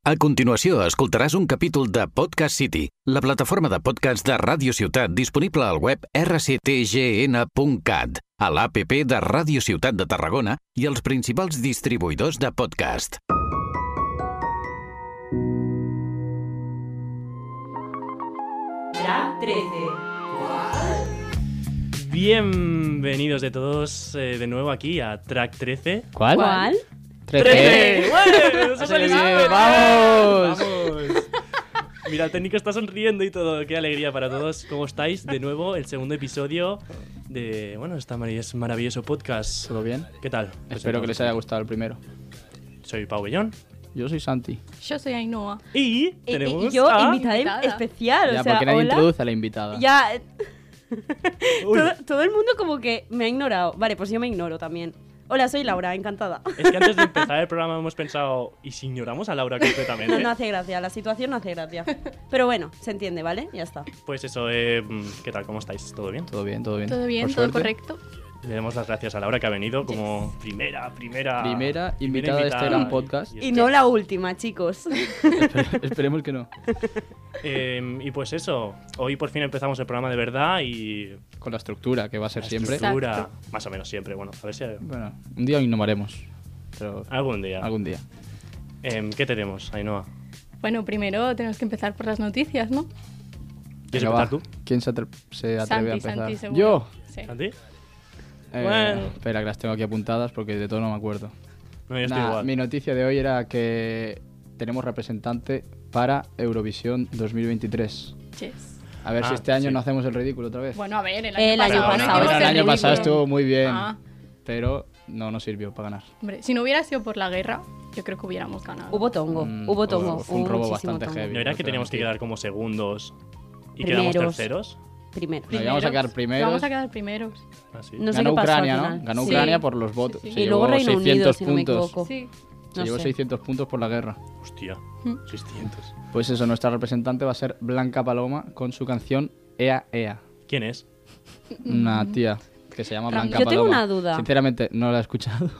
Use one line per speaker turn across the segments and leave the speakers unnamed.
A continuació escoltaràs un capítol de Podcast City, la plataforma de podcast de Ràdio Ciutat disponible al web rctgn.cat, a l'APP de Ràdio Ciutat de Tarragona i els principals distribuïdors de podcast.
Drag 13.
Bienvenidos de todos eh, de nuevo aquí a Track 13.
¿Cuál?
¿Cuál?
¡Ué! ¡Nos ha
Así
salido
que,
súper bien!
¡vamos!
¡Vamos! Mira, el técnico está sonriendo y todo. ¡Qué alegría para todos! ¿Cómo estáis? De nuevo, el segundo episodio de, bueno, este maravilloso, maravilloso podcast.
¿Todo bien?
¿Qué tal? Pues
Espero que les haya gustado el primero.
Soy Pau Bellón.
Yo soy Santi.
Yo soy Ainhoa.
Y
Y,
tenemos
yo,
a...
invitada en-
Invitada.
especial.
Ah. ya,
o sea,
porque nadie
hola.
introduce a la invitada.
Ya, eh,
Uy,
todo, todo el mundo como que me ha ignorado. Vale, pues yo me ignoro también. Hola, soy Laura, encantada.
es que antes de empezar el programa hemos pensado, ¿y si ignoramos a Laura completamente?
No, no hace gracia, la situación no hace gracia. Pero bueno, se entiende, ¿vale? Ya está.
Pues eso, eh, mm, ¿qué tal? ¿Cómo estáis? ¿Todo bien?
Todo bien, todo bien.
Todo bien,
Por
todo
suerte.
correcto.
Le damos las gracias a Laura que ha venido como primera, primera.
Primera invitada de este gran podcast.
Y no la última, chicos.
Espere- Esperemos que no.
Eh, y pues eso, hoy por fin empezamos el programa de verdad y.
Con la estructura que va a ser
la
siempre.
estructura,
Exacto.
más o menos siempre, bueno, a ver si
Bueno, un día innovaremos. Pero
algún día.
algún día.
Em, ¿Qué tenemos, Ainhoa?
Bueno, primero tenemos que empezar por las noticias, ¿no?
¿Quieres
Venga, va.
empezar tú?
¿Quién se, atre- se atreve
Santi,
a empezar?
Santi, seguro.
Yo.
Sí.
¿Santi?
Eh,
Bueno.
Espera, que las tengo aquí apuntadas porque de todo no me acuerdo.
No, yo estoy
Nah,
igual.
mi noticia de hoy era que tenemos representante para Eurovisión 2023.
Yes.
A ver
Ah,
si este año
sí.
no hacemos el ridículo otra vez.
Bueno, a ver, el
Eh, El
año
año
pasado.
pasado.
no hicimos
Pero
el año
ridículo.
pasado estuvo muy bien,
Ah,
pero no nos sirvió para ganar.
hombre, si no hubiera sido por la guerra, yo creo que hubiéramos ganado.
Hubo tongo,
Mm,
hubo
hubo-
tongo.
fue un
hubo
robo
muchísimo
bastante
tongo.
heavy.
¿No era que teníamos que quedar como segundos y quedamos
Primeros.
terceros?
Primero.
Nos íbamos a quedar primeros.
Vamos a quedar primeros.
Ah, sí.
No sé
Ganó
qué pasó al
Ucrania,
final.
¿no? Ganó
Sí.
Ucrania por los votos.
Sí, sí.
Se
Y luego
llevó
Reino
600
Unido, si no me
puntos.
equivoco.
Sí.
Se
No
llevó
sé.
600 puntos por la guerra.
Hostia,
Mm.
600.
Pues eso, nuestra representante va a ser Blanca Paloma con su canción Ea Ea.
¿Quién es?
Una
Mm.
tía que se llama Blanca
Yo
Paloma.
tengo una duda.
Sinceramente, no la he escuchado.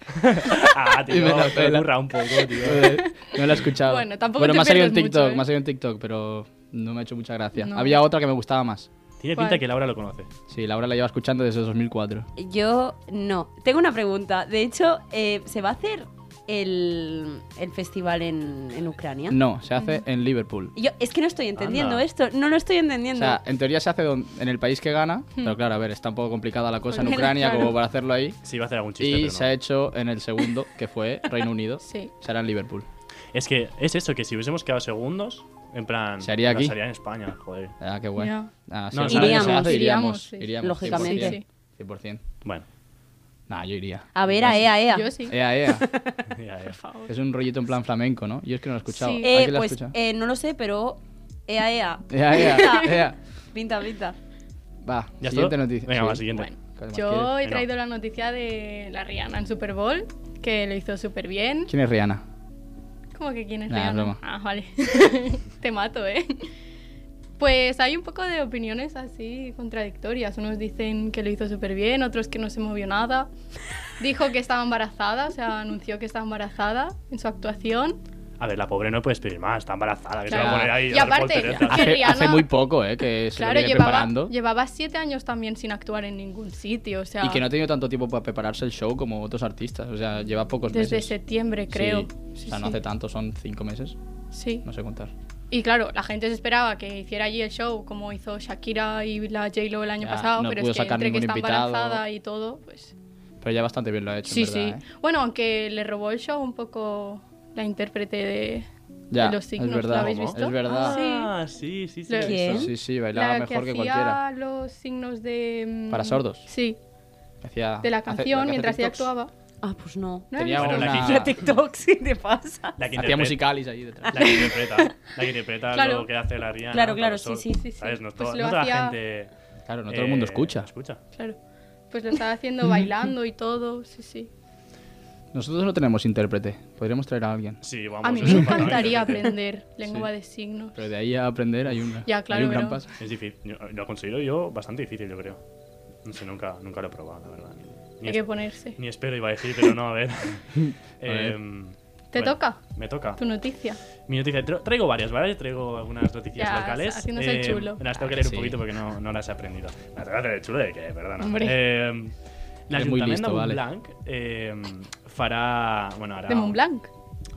Ah,
Y
tío,
me la
te
pela.
ocurra un poco, tío.
Joder, Eh, no la he escuchado.
Bueno, tampoco
Bueno,
te
me ha salido en
pierdes
TikTok,
mucho, ¿eh?
me ha salido en TikTok, pero no me ha hecho mucha gracia.
No.
Había otra que me gustaba más.
Tiene
¿Cuál?
pinta que Laura lo conoce.
Sí, Laura la lleva escuchando desde 2004.
Yo no. Tengo una pregunta. De hecho, eh, ¿se va a hacer el, el festival en, en Ucrania?
No, se hace en Liverpool.
Yo, es que no estoy entendiendo
Anda.
esto. No lo estoy
O
entendiendo.
sea, en teoría se hace don- en el país que gana,
Hmm.
pero claro, a ver, está un poco complicada la cosa en Ucrania
Claro.
como para hacerlo ahí.
Sí, iba a hacer algún chiste.
Y
pero no.
se ha hecho en el segundo, que fue Reino Unido.
Sí.
Será en Liverpool.
Es que es eso, que si hubiésemos quedado segundos, en plan.
¿Se haría
no,
aquí?
Se haría en España, joder.
Ah, qué guay.
Ya.
Ah,
No,
el
sí.
Reino Unido iríamos,
Iríamos,
iríamos, sí.
iríamos,
Lógicamente.
100%. 100%.
Bueno,
Nah, yo iría.
a ver, a EA, EA.
Yo sí.
Ea, ea.
ya, ya.
Por favor.
Es un rollito en plan flamenco, ¿no? Yo es que no lo he escuchado.
Sí.
¿A
Eh,
quién lo
pues
escucha?
eh, no lo sé, pero EA, EA.
Ea, ea, ea.
Pinta, pinta.
Va,
¿Ya
siguiente
está?
noticia.
Venga,
Sí.
va, siguiente.
Bueno,
¿Qué más
yo
quieres?
he
No.
traído la noticia de la Rihanna en Super Bowl, que lo hizo súper bien.
¿Quién es Rihanna?
¿Cómo que quién es
Nah,
Rihanna?
broma.
Ah, vale. Te mato, ¿eh? Pues hay un poco de opiniones así contradictorias. Unos dicen que lo hizo súper bien, otros que no se movió nada. Dijo que estaba embarazada, o sea, anunció que estaba embarazada en su actuación.
A ver, la pobre no puedes pedir más, está embarazada, que se va a
Claro.
poner ahí.
Y
a dar
aparte, ah,
volteretas.
que
Hace,
Rihanna-
hace muy poco, ¿eh? Que se lo
claro,
viene
llevaba,
preparando.
llevaba siete años también sin actuar en ningún sitio, o sea,
Y que no ha tenido tanto tiempo para prepararse el show como otros artistas. O sea, lleva pocos
desde
meses.
septiembre,
Sí.
creo.
o sea, no hace tanto, son cinco meses.
Sí.
No sé contar.
Y claro, la gente se esperaba que hiciera allí el show como hizo Shakira y la J-Lo el año
Ya,
pasado,
no
pero
pudo
es que
sacar
entre que
ningún
está
invitado.
embarazada y todo, pues...
Pero ya bastante bien lo ha hecho.
Sí,
en verdad,
sí.
¿eh?
Bueno, aunque le robó el show un poco la intérprete de,
Ya,
de los signos,
es verdad.
¿lo habéis
¿Cómo?
visto?
Es verdad.
Ah, sí, sí, sí.
Lo-
lo he
¿Quién?
visto.
Sí, sí, bailaba
La
mejor que,
hacía
cualquiera.
los signos de... mm,
Para sordos.
Sí,
Hacía-
de la
hace-
canción
que hace
mientras ella
TikToks.
actuaba.
Ah, pues no.
¿No
Tenía
habéis
Bueno, la
visto?
una...
Ah.
La TikTok, si te pasa.
La que
Hacía
interpreta-
musicalis ahí detrás.
La que interpreta, la que interpreta
Claro.
lo que hace la Rihanna.
Claro, claro,
todo
sí,
eso.
sí,
sí, sí.
¿Sabes? No,
Pues
toda,
lo
no toda la
hacía-
gente.
Claro, no todo el mundo
eh,
escucha.
escucha.
Claro. Pues lo estaba haciendo bailando y todo, sí, sí.
Nosotros no tenemos intérprete. Podríamos traer a alguien.
Sí, vamos.
A mí me
eso para la
encantaría
gente.
aprender lengua de signos.
Pero de ahí a aprender hay, una,
Ya, claro,
hay un gran
pero-
paso.
Es difícil. Yo- Lo considero yo bastante difícil, yo creo. No sé, nunca, nunca lo he probado, la verdad. Ni,
Hay que ponerse.
ni espero, iba a decir, pero no, a ver.
ver.
Em,
¿Te
Eh, Bueno,
toca
Me toca.
tu noticia?
Mi noticia. tra- Traigo varias, ¿vale? Traigo algunas noticias
Ya,
locales. Eh,
haciéndose el chulo.
Las tengo que
Ah,
leer
sí.
un poquito porque no, no las he aprendido. Las tengo que hacer el chulo de que, perdona.
Hombre.
Eh, la
Es muy
Ayuntamiento
listo,
de
vale.
Montblanc eh, fará. Bueno, hará.
De
un-
Montblanc.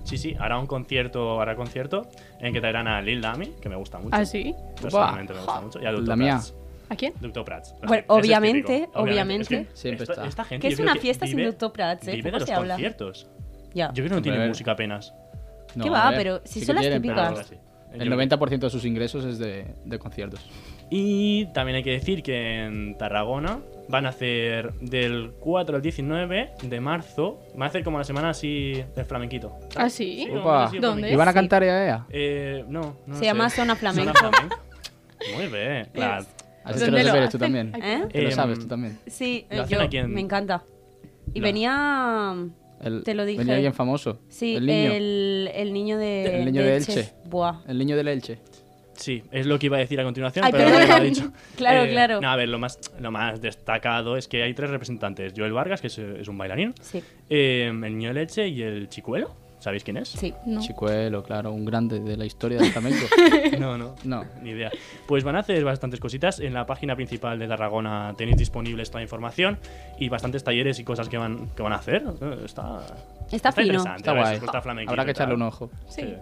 Sí, sí, hará un concierto, hará concierto en que traerán a Lil Dami, que me gusta mucho.
¿Ah, sí?
Personalmente me gusta mucho. Y a Dr.
La mía.
Prats.
¿A quién?
Dr. Prats.
Bueno,
Ese es
obviamente,
típico,
obviamente.
Es que
Siempre
esto-
está.
esta gente
Que
yo
es
creo
una
que
fiesta sin
vive-
Dr. Prats, ¿eh?
Vive
Poco
de los
se habla.
conciertos.
Ya.
Yo creo que no tiene
Hombre.
música apenas.
No,
¿Qué va?
a ver,
Pero si
sí que
son las
quieren,
Pero
típicas.
pero
algo así.
El
Yo-
90% de sus ingresos es de, de conciertos.
Y también hay que decir que en Tarragona van a hacer del 4 al 19 de marzo, van a hacer como la semana así del flamenquito.
¿Ah, sí?
como
Opa.
una así de
¿Dónde?
¿Y
flamenquito.
van a
Sí.
cantar EA EA?
Eh, no, no
Se
sé.
llama Zona Flamenco.
flamenca. Muy bien. la-
Así
¿Dónde
te los
lo
deberes tú
hacen?
también.
Ay,
¿Eh?
Te lo
Em,
sabes tú también.
Sí,
Lo
eh,
hacen
yo
aquí en-
me encanta. Y
La-
venía.
El-
Te lo dije.
Venía alguien famoso.
Sí,
el
el
niño.
el, niño de.
El niño de Elche.
Buah.
El niño del Elche.
Sí, es lo que iba a decir a continuación,
Ay,
pero
perdón.
no lo he dicho. Eh,
Claro, claro.
no, a ver, lo más, lo más destacado es que hay tres representantes. Joel Vargas, que es, es un bailarín,
Sí,
eh, el niño de leche y el chicuelo. ¿Sabéis quién es?
sí.
No.
Chicuelo, claro, un grande de la historia del flamenco.
No, no.
No.
Ni idea. Pues van a hacer bastantes cositas. En la página principal de Tarragona tenéis disponible esta información y bastantes talleres y cosas que van, que van a hacer. Eh, Está,
Está fino.
interesante.
Está
a ver,
guay.
si os gusta flamenquito
Habrá
y
que echarle
tal.
un ojo.
Sí.
Sí.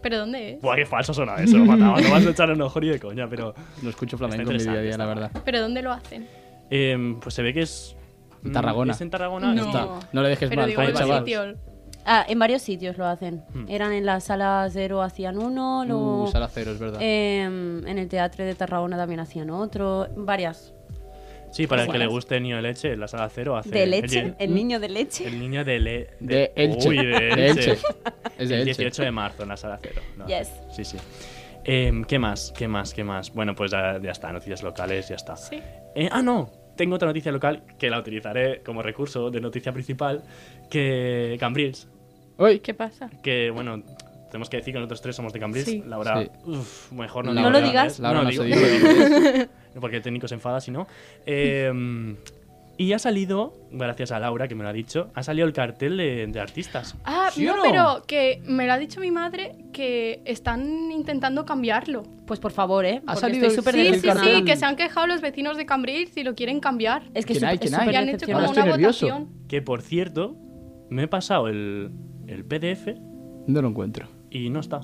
¿Pero dónde es?
Buah, qué falso suena eso, Mataba. No vas a echar un ojo ni de coña, pero.
No escucho flamenco
Está
en mi día a
interesante,
día, la
está
verdad.
¿Pero dónde lo hacen?
eh, pues se ve que es. mm,
En Tarragona.
¿Es en Tarragona?
No.
Está.
Está. No le dejes
Pero
mal,
digo,
pobre
el
varios
chaval.
sitio.
Ah, en varios sitios lo hacen.
Hmm.
Eran en la sala cero hacían uno, luego
Uh, sala cero, es verdad.
Eh,
em, en el teatro de Tarragona también hacían otro, varias.
Sí, para el que
Buenas.
le guste el niño de leche, en la sala cero hace.
Pues ¿De leche?
El,
¿El, niño de leche?
el niño de, le-
de Elche.
Uy, de Elche.
Es de
el
Elche.
18 de marzo en la sala cero. No,
Yes.
Sí, sí. Em, ¿Qué más? ¿Qué más? ¿Qué más? Bueno, pues ya, ya está, noticias locales, ya está.
Sí.
Eh, ah, no, tengo otra noticia local que la utilizaré como recurso de noticia principal, que Cambrils,
Uy,
¿Qué pasa?
que bueno, tenemos que decir que nosotros tres somos de Cambrils,
Sí.
la verdad,
Sí.
uf, mejor no,
Laura,
digo
No lo
nada,
digas.
¿eh?
Laura,
No
no
digo,
se
no
dice.
digo. porque el técnico se enfada si no. Em, y ha salido, gracias a Laura que me lo ha dicho, ha salido el cartel de, de artistas.
Ah,
¿Sí o
no,
no?
pero que me lo ha dicho mi madre que están intentando cambiarlo.
Pues por favor, ¿eh?
Ha
Porque
salido
estoy súper
el
Sí, sí,
decepcionada.
sí,
cartel.
que se han quejado los vecinos de Cambrils si lo quieren cambiar.
Es que
¿Quién
es
hay?
súper- es
¿Quién hay?
súper
Y han hecho
Ahora
como
decepcionante.
estoy
una
nervioso.
votación.
Que por cierto, me he pasado el, el PDF
no lo encuentro.
y no está.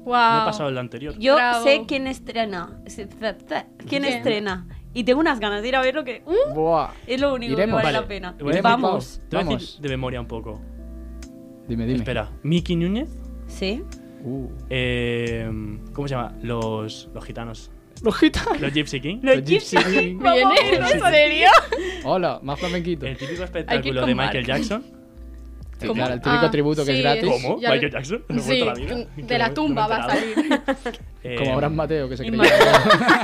Wow.
Me he pasado el anterior.
Yo
Bravo.
sé quién estrena. Se- ta- ta- ¿Quién
¿Quién?
estrena? Y tengo unas ganas de ir a ver lo que... ¡Uh!
Buah.
Eh,
Es lo único
Iremos.
que vale,
Vale.
la pena.
Iremos.
Vamos.
Te voy a decir
Vamos.
de memoria un poco.
Dime, dime.
Espera, Miki Núñez.
¿Sí?
Uh.
eh, ¿Cómo se llama? Los, los gitanos. Los Gypsy King.
Los
The Gypsy King.
¿Viene? ¿En serio?
Hola, más flamenquito.
El típico
Hay que ir
espectáculo
con
de Michael
Mark.
Jackson.
Sí,
¿Cómo?
claro, el típico
Ah,
tributo que
sí,
es gratis.
es-
¿Cómo?
ya lo-
¿Michael Jackson? ¿Me ha
Sí,
vuelto la vida?
de la
No me-
tumba
no me
va a salir.
Eh,
Como Abraham Mateo, que se
Y
creía.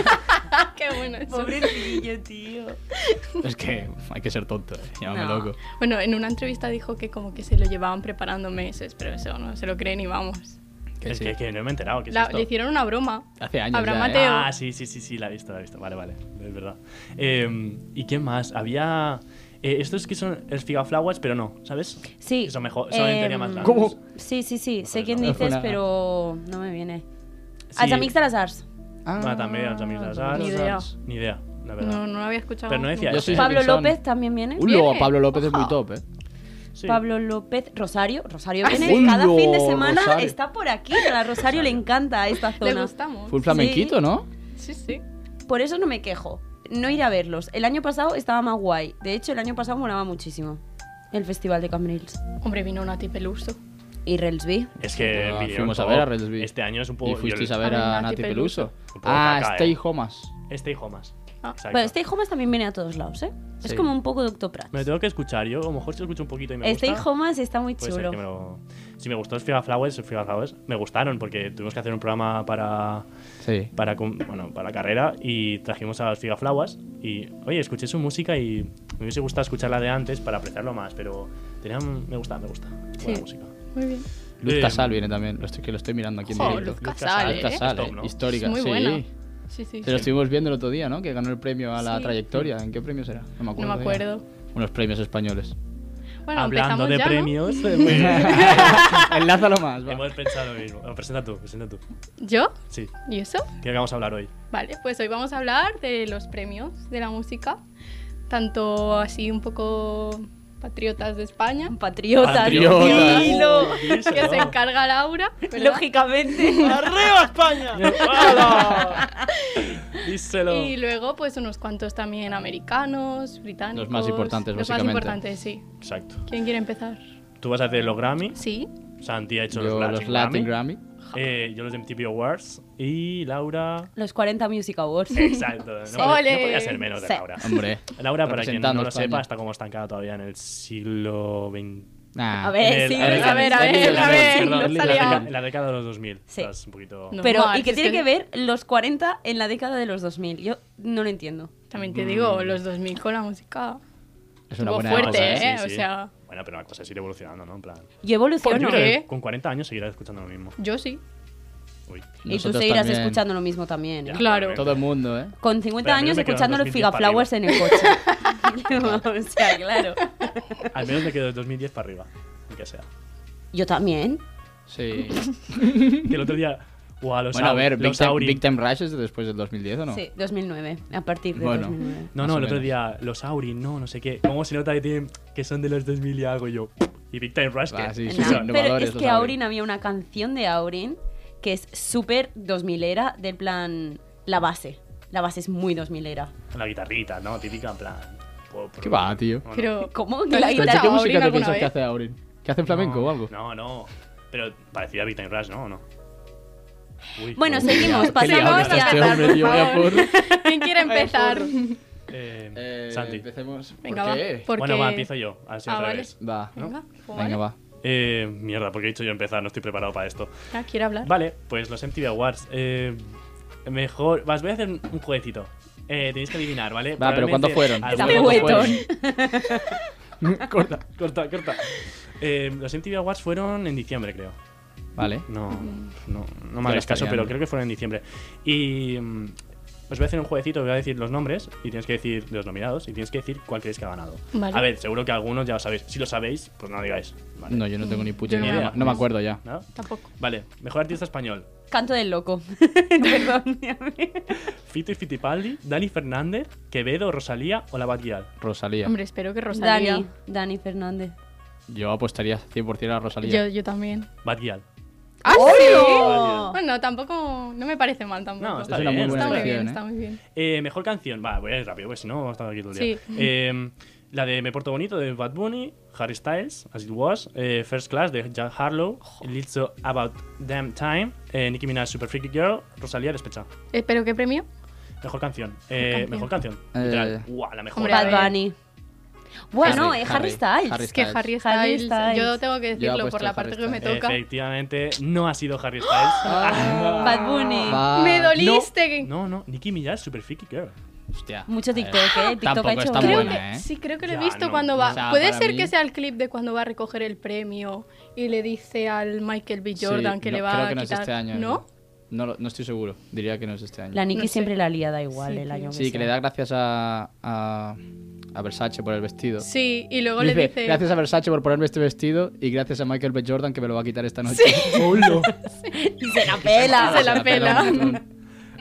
Qué bueno eso.
Pobrecillo, tío.
Es que uf, hay que ser tonto, eh. llámame
No.
loco.
Bueno, en una entrevista dijo que como que se lo llevaban preparando meses, pero eso no se lo creen y vamos.
Que
Es
sí.
que, que no me he enterado. ¿qué es
La-
esto?
le hicieron una broma.
Hace años
Abraham
ya, eh.
Mateo.
Ah, sí, sí, sí, sí, la he visto, la he visto. Vale, vale, es verdad. Eh, ¿Y qué más? Había. eh, estos que son el Figa Flowers, pero no, ¿sabes?
Sí.
Que son mejor, son en teoría
em,
más largos.
¿Cómo?
Sí, sí, sí. Sé
Joder,
quién
no.
dices,
Hola.
pero no me viene.
Sí.
Al Samix de las Arts.
Ah, también, los amigos de las artes.
Ni idea.
Ni idea, la verdad.
No, no lo había escuchado.
Pero no decía
nunca.
Yo soy-
Pablo
que son-
López también viene.
Ulo,
Viene.
Pablo López es muy
Ojo.
top, eh.
Sí.
Pablo López, Rosario. Rosario
Ah,
viene
sí.
cada
Ulo,
fin de semana.
Rosario.
Está por aquí. A la Rosario le encanta esta
Le
zona.
gustamos.
Full flamenquito, ¿no?
Sí, sí.
Por eso no me quejo. No iré a verlos. El año pasado estaba más guay. De hecho, el año pasado molaba muchísimo. El festival de Cambrils.
Hombre, vino Nati Peluso.
Y Relsby.
Es que
Ah,
vinieron
fuimos a
todo.
ver a Redsby.
Este año es un poco.
Y fuisteis a ver
A ver,
a
Nati
Nati Peluso.
Un poco
Ah,
caca, eh.
Stay Homas.
Este hijo más.
Ah.
Exacto.
Pero Stay Homas también viene a todos lados, ¿eh? Es
Sí.
como un poco Doctor Prats.
Me lo tengo que escuchar. Yo a lo mejor si lo escucho un poquito y me
Stay
gusta.
Homas está muy
puede ser
chulo.
que me lo- Si me gustó el Figa Flowers, el Figa Flowers me gustaron porque tuvimos que hacer un programa para,
Sí.
para, com- bueno, para la carrera y trajimos a los Figa Flowers y, oye, escuché su música y me hubiese gustado escucharla de antes para apreciarlo más, pero tenían, me gusta, me gusta. Buena
Sí.
música.
Muy bien.
Luz
Eh,
Casal viene también, lo estoy, que lo estoy mirando aquí en
Jo,
directo.
Oh, Luz Casal,
Luz
¿eh?
Casal,
Es top,
eh,
¿no?
histórica,
Es muy
sí.
buena. Sí, sí.
Te lo estuvimos viendo el otro día, ¿no? Que ganó el premio a la
Sí.
trayectoria. ¿En qué premio será? No me
No
acuerdo.
me
ya.
acuerdo.
Unos premios españoles.
Bueno,
Hablando
empezamos
de
ya, ¿no?
premios, eh, muy bien.
Enlázalo más, va.
hemos pensado lo mismo. Bueno, presenta tú, presenta tú.
¿Yo?
Sí,
¿Y eso?
¿qué vamos a hablar hoy?
Vale, pues hoy vamos a hablar de los premios de la música, tanto así un poco patriotas de España,
Patriota,
Patriotas.
dilo.
Oh, eso,
que se
¿no?
encarga Laura. ¿verdad?
Lógicamente.
¡Arriba España!
¡Hala! Díselo.
Y luego, pues unos cuantos también americanos, británicos.
Los más importantes,
Los
básicamente.
más importantes, sí.
Exacto.
¿Quién quiere empezar?
Tú vas a hacer los Grammy.
Sí.
Santi ha hecho
Yo,
los,
los Latin Grammy.
Eh, yo los MTV Awards. Y Laura.
Los 40 Music Awards.
Exacto. No, podía-
Ole.
no podía ser menos de
Sí.
Laura.
Hombre.
Laura, para quien no
Representando
lo
España.
sepa, está como estancada todavía en el siglo XX.
Nah.
A ver, sí.
En el-
sí,
a ver, a
sí,
ver,
sí,
a
sí,
ver,
sí,
perdón,
no
en la
salía.
década- en la década de los 2000.
Sí.
Estás un poquito.
No.
Pero,
Normal,
¿y qué
es
tiene
que-
que ver los 40 en la década de los 2000? Yo no lo entiendo.
También te
Mm.
digo, los 2000 con la música.
Es una
Estuvo
buena
fuerte,
cosa,
¿eh? O sea- ¿eh?
Bueno, pero la cosa es ir evolucionando, ¿no? En plan.
Yo evoluciono.
Yo creo que
¿Qué?
con 40 años seguirás escuchando lo mismo.
Yo sí.
Uy.
Y tú
Nosotros
seguirás
también.
escuchando lo mismo también. ¿eh?
Ya,
Claro.
obviamente.
Todo el mundo, ¿eh?
Con 50
Pero a mí no
años
me quedan
escuchando los
2010 para
Figaflowers en el coche. o sea, claro.
Al menos me quedo de 2010 para arriba. Que sea.
Yo también.
Sí.
Que el otro día. Guau, los
bueno, a
au-
ver, Big
los
Time,
Auri-
Big Time Rush es de después del 2010, ¿o no?
Sí, 2009. A partir de
Bueno.
2009.
No,
Más
no,
o
el otro
menos.
día, los Auri, no, no sé qué. ¿Cómo se nota que, tienen, que son de los 2000 y algo yo? Y Big Time Rush,
Va,
que-
Ah, sí, sí,
No,
sí,
pero
innovadores
es
los
que
Aurin.
Aurin había una canción de Aurin que es súper 2000 era, del plan. La base. La base es muy 2000 era.
La guitarrita, ¿no? Típica, en plan. po, po,
¿Qué va, tío?
Bueno,
Pero.
¿Cómo?
¿Tú has
La
Pero,
guitarra.
¿Qué
escuchado a
música
Aurin
te
alguna
piensas que
vez?
hace Aurin? ¿Que hace flamenco o algo?
No, no. Pero parecía Big Time Rush, ¿no? ¿O no? Uy,
Bueno,
qué liado,
seguimos,
qué
pasamos
liado que
a-
estás.
Este
empezar,
hombre,
por
tío, vaya
favor.
porro.
¿Quién quiere empezar?
Eh,
Eh,
Santi.
Empecemos.
Venga,
¿Por
va.
qué?
Porque...
Bueno, va, empiezo yo. Así
Ah,
al
vale.
revés.
Va.
Venga, pues
Venga, va.
Eh, mierda, porque he dicho yo empezar, no estoy preparado para esto.
Ah, ¿Quiere hablar?
Vale, pues los MTV Awards. Eh, mejor. Vas, voy a hacer un un jueguecito. Eh, tenéis que adivinar, ¿vale?
Va, pero ¿cuándo
Probablemente
fueron?
alguno-
Este
¿Cuándo fueron?
corta, corta, corta. Eh, los MTV Awards fueron en diciembre, creo.
Vale.
No, no, no me
Ya
hagáis
está
caso,
ya,
pero
¿no?
creo que fueron en diciembre. Y mm, os voy a hacer un jueguecito, voy a decir los nombres y tienes que decir los nominados y tienes que decir cuál creéis que ha ganado.
Vale.
A ver, seguro que algunos ya lo sabéis. Si lo sabéis, pues no lo digáis. Vale.
No, yo no tengo ni puta
Yo no
ni
me
idea.
acuerdo.
No me acuerdo ya.
¿No?
Tampoco.
Vale, mejor artista español.
Canto del loco. Perdón.
Fito y Fitipaldi, Dani Fernández, Quevedo, Rosalía o La Batguial.
Rosalía.
Hombre, espero que Rosalía.
Dani, Dani Fernández.
Yo apostaría 100% a Rosalía.
Yo, yo también.
Batguial.
¡Ah,
¡Hola!
Bueno, tampoco. No me parece mal tampoco.
No,
Es una muy
bien,
buena
Está muy
elección,
bien,
¿eh?
está muy bien.
Eh, mejor canción. Va, voy a ir rápido, porque si no, vamos a estar aquí todo el día.
Sí.
Eh, la de Me Porto Bonito de Bad Bunny, Harry Styles, As It Was, eh, First Class de Jack Harlow, Little About Damn Time, eh, Nicki Minaj Super Freaky Girl, Rosalía Despecha.
Eh, ¿Pero qué premio?
Mejor canción. Eh, mejor
Mejor
canción.
Eh,
Literal. Guau, la mejor.
Hombre, a ver.
Bad Bunny. Bueno,
Harry,
eh, Harry
Harry,
Styles.
Harry
Es que
Styles.
Harry Styles,
Harry Styles.
Yo tengo que
Yo
decirlo
apuesto
por
a
la
Harry
parte que me
Styles.
toca.
Efectivamente, no ha sido Harry Styles. Ah.
Bad Bunny.
Va.
Me
No,
doliste.
no, no, Nicki Minaj Super Freaky Girl.
Hostia.
Mucho
A ver.
TikTok, ¿eh? TikTok
Tampoco
ha hecho
es tan
Creo
varios.
buena,
que,
¿eh?
Sí, creo que lo
Ya,
he visto
no.
cuando va.
O sea,
Puede
para
ser
mí-
que sea el clip de cuando va a recoger el premio y le dice al Michael B.
Sí,
Jordan que
no,
le va
creo
a
que no
quitar.
es este año.
¿No?
No, lo- no estoy seguro. Diría que no es este año.
La Nicki
No sé.
siempre la lía, da igual
Sí,
el año
Sí, que
sea.
le da gracias a, a, a Versace por el vestido.
Sí, y luego
Dice,
le dice.
Gracias a Versace por ponerme este vestido y gracias a Michael B. Jordan que me lo va a quitar esta noche.
Y se la pela.
"Ah, Se la pela.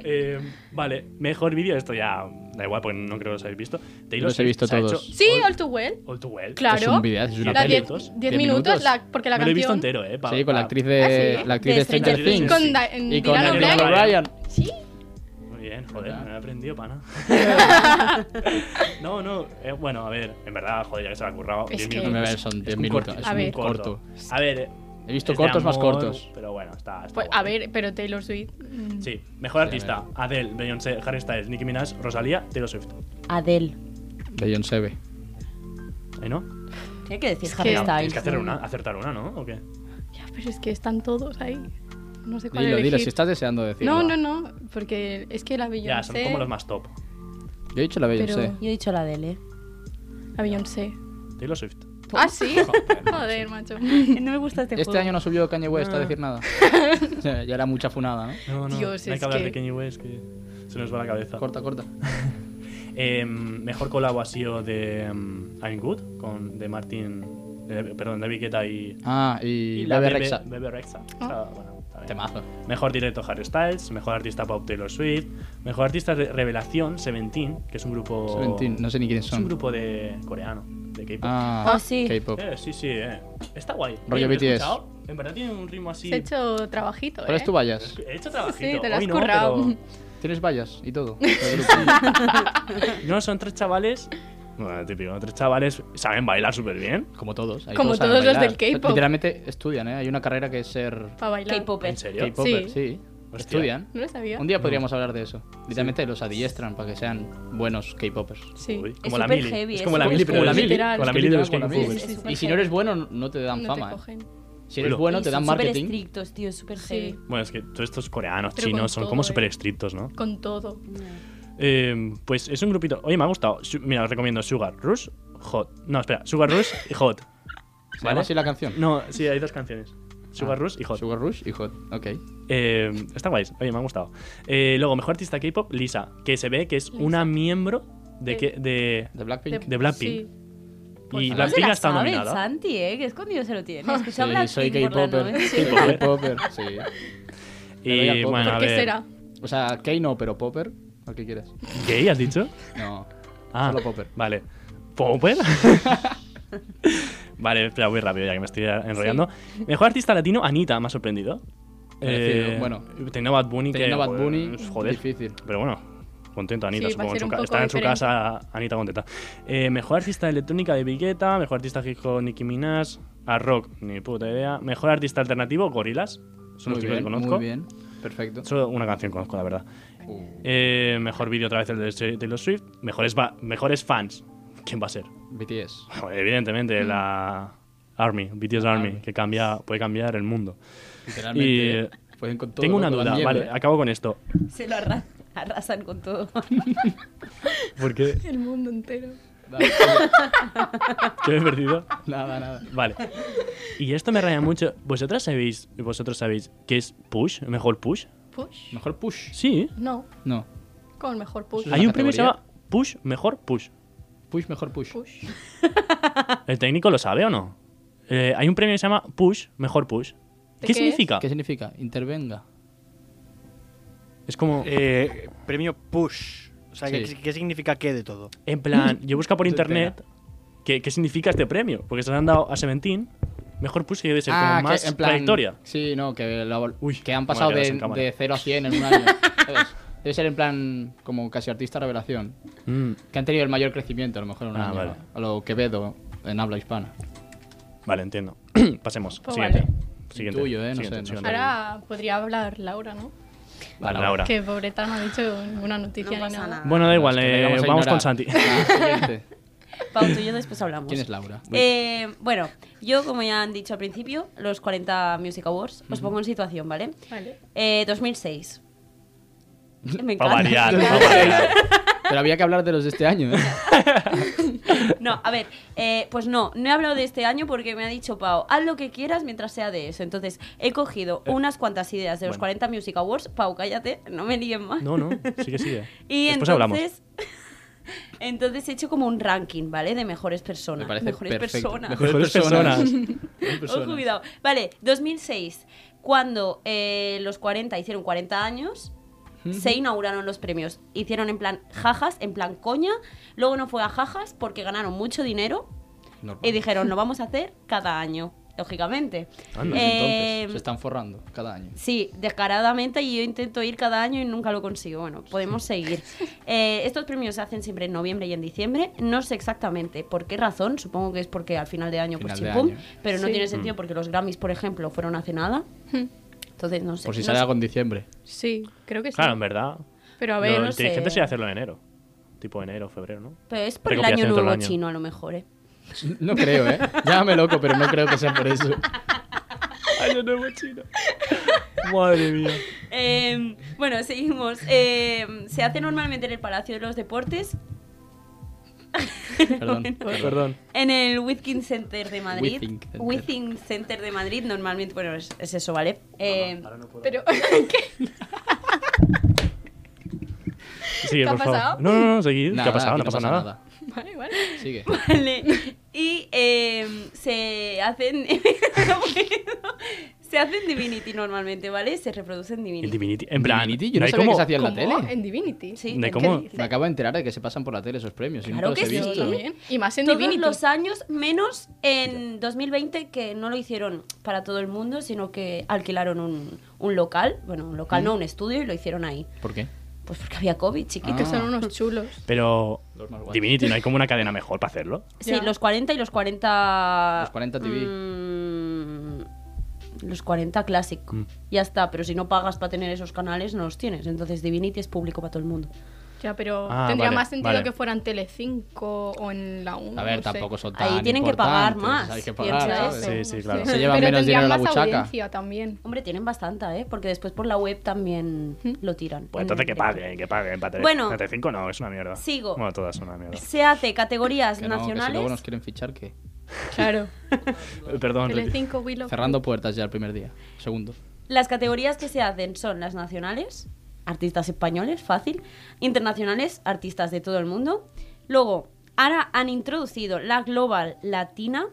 Eh, vale, mejor vídeo. Esto ya da igual porque no creo que los hayáis visto. Taylor
los he
Swift
visto
se ha
todos.
hecho
Sí,
All-
All Too Well.
All Too Well.
Claro.
Es un video, es
La
una
La
peli.
10
diez-
Sí,
minutos?
minutos,
¿Diez minutos?
la- porque la
Me lo he
canción.
visto entero, eh. pa-
con la
pa-
actriz de,
Ah, sí.
la actriz de,
De
Stranger
Stranger
Things.
Things.
Con Da- en
Y con
Dylan
Daniel
O'Brien.
O'Brien.
Sí.
Muy bien, joder,
¿Verdad?
me he aprendido, pana. no, no, eh, bueno, a ver, en verdad, joder, ya que se lo ha currado.
Es
diez
que-
minutos
No,
a ver,
es-
son
es
diez
un
minutos,
corto,
es
un
muy
corto.
corto.
A ver, eh,
He visto
es de
cortos más
amor,
cortos.
Pero bueno, está. está
Pues, a
guay.
ver, pero Taylor Swift. mm,
Sí, mejor
Sí, a
artista: Adele, Beyoncé, Harry Styles, Nicki Minaj, Rosalía, Taylor Swift.
Adele.
De John Seve.
¿Eh, no?
Tiene que decir
Es
Harry
que-
Styles.
Tienes que hacer una, acertar una, ¿no? ¿O qué?
Ya, pero es que están todos ahí. No sé cuál
Dilo, dilo,
elegir.
si estás deseando decirlo.
no, no, no, porque es que la Beyoncé.
Ya, son como los más top.
Yo he dicho la de John
Pero-
Seve.
Yo he dicho la Adele. ¿eh?
La Beyoncé.
Taylor Swift.
Ah, sí. Joder, macho.
No me gusta este,
Este
juego.
año no subió Kanye West a
Ah.
decir nada. ya ya era mucha funada, ¿no?
No, no,
Dios,
no hay
es
que hablar
que-
de Kanye West, que se nos va la cabeza. Em,
Corta, corta.
Eh, mejor colabo ha sido de mm, I'm Good, con, de Martin eh, perdón, David Guetta y.
Ah, y, Bebe Rexha.
Bebe Rexha.
Ah.
Está, bueno, está bien.
Temazo.
Mejor directo Harry Styles, mejor artista pop Taylor Swift, mejor artista de revelación Seventeen, que es un grupo.
Seventeen, no sé ni quiénes
Oh. Es un
son.
grupo de coreano, de K-pop.
Ah,
Ah, sí.
K-pop.
Eh, sí, sí, eh. Está guay.
Rollo
Oye, lo he
BTS.
escuchado. En verdad tiene un ritmo así.
Se ha hecho trabajito, ¿eh?
¿Cuál es tu vallas?
He hecho trabajito.
Sí, te lo has
Hoy no,
currado.
pero-
¿Tienes vallas y todo?
No, son tres chavales. Bueno, típico, tres chavales saben bailar súper bien.
Como todos. ahí
Como
saben
todos los
bailar.
del K-pop.
Literalmente estudian, ¿eh? Hay una carrera que es ser
Para bailar.
K-pop.
¿En serio?
K-popper, sí.
Sí.
Hostia.
Estudian.
No lo sabía.
Un día podríamos hablar de eso. Literalmente los adiestran para que sean buenos K-popers.
Sí.
Uy,
Es
como la
súper
mili.
heavy,
es
es
como la
súper
mili, pero
como la
de-
mili.
Como la
Es que
mili de los
literal,
King
como la mili.
Sí, sí, sí.
Y si no eres bueno, no te dan
no
fama.
te
¿eh?
cogen.
Si eres
Pero-
bueno,
Y
te dan
son súper
marketing.
estrictos, tío, súper
Sí.
heavy.
Bueno, es que todos estos coreanos,
Pero con
chinos, son
todo,
como
eh.
súper estrictos, ¿no?
Con todo.
Eh, pues es un grupito. Oye, me ha gustado. Su- Mira, os recomiendo Sugar Rush, Hot. No, espera, Sugar Rush y Hot.
¿Se
¿Vale?
llama así la canción? Ah.
No, sí, hay dos canciones. Sugar Rush y Hot.
Sugar Rush y Hot. Ok.
Eh, está guay, oye, me ha gustado. Eh, luego, mejor artista K-pop, Lisa, que se ve que es una miembro de,
Sí.
que, de,
De Blackpink.
De Blackpink.
Sí.
y
favor.
¿Cómo se
Blackpink
la
ha estado
sabe el
nominada.
Santi, eh? Que escondido se lo tiene. Escucha
Sí,
Blackpink
soy
por la
K-popper.
noche.
Soy K-popper, sí. Pero ya
Y
poco.
bueno, a
¿Por qué
ver.
será?
O sea, K no, pero popper. ¿O qué quieres?
¿Gay has dicho?
No.
Ah,
Solo Popper.
Vale. ¿Popper? vale, espera, voy rápido ya que me estoy enrollando. Mejor artista latino, Anita, me ha sorprendido. Eh,
Merecido, bueno.
Teniendo Bad Bunny, que,
Teniendo Bad Bunny,
pues, joder.
difícil.
Pero bueno, contenta Anita,
Sí, va a
supongo. en
ser
su
un
ca-
poco
está en su
diferente.
casa, Anita contenta. Eh, mejor artista de electrónica de Vigueta, mejor artista hip hop Nicki Minaj, a rock, ni puta idea. Mejor artista alternativo, Gorilas. Son los chicos
Muy
que
bien,
conozco.
muy bien. Perfecto.
Solo una canción conozco, la verdad.
Uh,
Eh, mejor vídeo otra vez el de Taylor Swift. Mejores, ba- mejores fans. ¿Quién va a ser?
BTS.
Bueno, Evidentemente, la Army, BTS Army,
Mm. Army.
que cambia, puede cambiar el mundo.
Literalmente. eh, pueden con todo,
eh, Tengo
¿no?
una
Con la
duda,
mierda.
vale, acabo con esto.
Se lo arra- arrasan con todo.
Porque
El mundo entero.
Dale,
ah. ¿Qué me he perdido?
nada, nada.
Vale. Y esto me raya mucho. ¿Vosotras sabéis, vosotros sabéis qué es push? ¿Mejor push?
Push.
Mejor push.
Sí.
No.
No.
Con mejor push.
Eso es
Hay un premio que se
categoría?
llama push, mejor push.
Push, mejor push.
Push.
¿El técnico lo sabe o no? Eh, hay un premio que se llama push, mejor push. ¿Qué,
¿De qué
significa?
¿Qué significa? Intervenga.
Es como,
Eh, premio push. O sea,
Sí.
¿qué, qué significa qué de todo?
en plan, yo busco por
Te-
internet qué, qué significa este premio. Porque se lo han dado a Seventeen. Mejor push que debe ser
Ah,
como más trayectoria.
Sí, no, que, lo-
Uy,
que han
cómo me
pasado
quedas
de,
en cámara.
de 0 a 100 en un año. ¿sabes? Debe ser en plan como casi artista revelación.
Mm,
Que han tenido el mayor crecimiento, a lo mejor en un
Ah,
año.
vale.
A lo Quevedo en habla hispana.
vale, entiendo. Pasemos.
Pues
siguiente.
vale.
Siguiente.
Tuyo, eh, no sé,
siguiente,
no sé.
siguiente.
Ahora podría hablar Laura, ¿no?
Vale, Laura.
Que pobreta no ha dicho ninguna
No
noticia ni
pasa
nada.
nada.
Bueno, da igual,
Los que
eh,
le vamos a
vamos con
ignorar.
Santi.
La siguiente.
Pau, tú y yo después hablamos.
¿Quién es Laura?
Eh, bueno, yo como ya han dicho al principio, los 40 Music Awards, os pongo en situación, ¿vale?
Vale.
Eh, 2006. Me
Va a variar, va a
encanta.
variar.
Pero había que hablar de los de este año, ¿eh?
No, a ver, eh, pues no, no he hablado de este año porque me ha dicho Pau, haz lo que quieras mientras sea de eso. Entonces, he cogido unas cuantas ideas de los
Eh. bueno.
40 Music Awards. Pau, cállate, no me líen más.
No, no, sigue, sigue.
Y
Después
entonces, eh,
hablamos.
entonces he hecho como un ranking, ¿vale? De mejores personas.
Me parece
mejores
perfecto.
personas.
Mejores personas.
Mejores personas.
Ojo, cuidado. Vale, 2006, cuando eh, los 40 hicieron 40 años, se inauguraron los premios. Hicieron en plan jajas, en plan coña. Luego no fue a jajas porque ganaron mucho dinero
Normal.
y dijeron, lo vamos a hacer cada año, lógicamente.
Anda.
Desde
Eh,
Ah, entonces se están forrando cada año.
Sí, descaradamente y yo intento ir cada año y nunca lo consigo. Bueno, podemos seguir. Eh, estos premios se hacen siempre en noviembre y en diciembre. No sé exactamente por qué razón. Supongo que es porque al final de año, pues
Final de
chimpum,
año.
Pero no
Sí.
tiene sentido porque los Grammys, por ejemplo, fueron hace nada. Entonces, no sé.
Por si
no
sale
sé.
algo en diciembre.
Sí, creo que sí.
Claro, en verdad.
Pero a ver,
lo
no sé.
inteligente sería hacerlo en enero. Tipo enero, febrero, ¿no?
Pero es por el
Recopilación
año
de todo el
nuevo
año.
chino, a lo mejor. ¿eh?
No creo, ¿eh? Llámame loco, pero no creo que sea por eso.
Año nuevo chino. Madre mía.
Eh, bueno, seguimos. Eh, se hace normalmente en el Palacio de los Deportes,
Perdón.
Perdón.
En el Witkin Center de Madrid.
Within Center.
Within Center de Madrid, normalmente, bueno, es, es eso, ¿vale? Eh,
pero ¿qué?
Sigue,
¿Qué ha
por favor.
pasado?
No, no, no, seguid. ¿Qué
Nada,
ha pasado?
aquí
No, pasa nada.
Vale, vale.
Sigue.
Vale. Y eh, se hacen. no puedo. se hacen Divinity normalmente, ¿vale? Se reproducen
En
Divinity.
Divinity. En plan.
Divinity,
no
yo no
hay
sabía
como-
que se hacía en la
¿Cómo?
tele.
En Divinity.
Sí.
¿De
¿Qué
cómo?
dices?
Me acabo de enterar de que se pasan por la tele esos premios. y
Claro
nunca
que
los he
sí.
visto.
También. Y más en
Todos
Divinity.
los años, menos en 2020, que no lo hicieron para todo el mundo, sino que alquilaron un, un local, bueno, un local, no, un estudio, y lo hicieron ahí.
¿Por qué?
Pues porque había COVID, chiquito.
Que son unos chulos.
Pero.
Los más guays.
Divinity, ¿no hay como una cadena mejor para hacerlo? Pues
Sí,
Ya.
los 40 y los 40.
Los 40 TV.
mm, los 40 Classic.
Mm.
Ya está, pero si no pagas para tener esos canales, no los tienes. Entonces Divinity es público para todo el mundo.
Ya, pero
Ah,
tendría
vale,
más sentido
vale.
que fueran Tele5 o en la 1.
A ver,
no sé.
tampoco son tan
Ahí tienen que pagar
importantes,
más, ¿eh?
Hay que
piensa
pagar,
eso.
¿sabes?
Sí, sí, claro.
Se llevan
Pero
menos
tendrían
dinero a la
más
buchaca.
audiencia también.
Hombre, tienen bastante, ¿eh? Porque después por la web también lo tiran.
Pues
en
entonces que
directo.
paguen, que paguen. Para
Bueno.
5 no, es una mierda.
Sigo.
Bueno, todas son una mierda.
Se hace categorías
Que no, que si
nacionales.
luego nos quieren fichar, ¿qué?
Claro.
Eh, Perdón, Leti.
Tele5, Willow.
Cerrando puertas ya el primer día. Segundo.
Las categorías que se hacen son las nacionales, artistas españoles, fácil, internacionales, artistas de todo el mundo. Luego, ahora han introducido la Global Latina,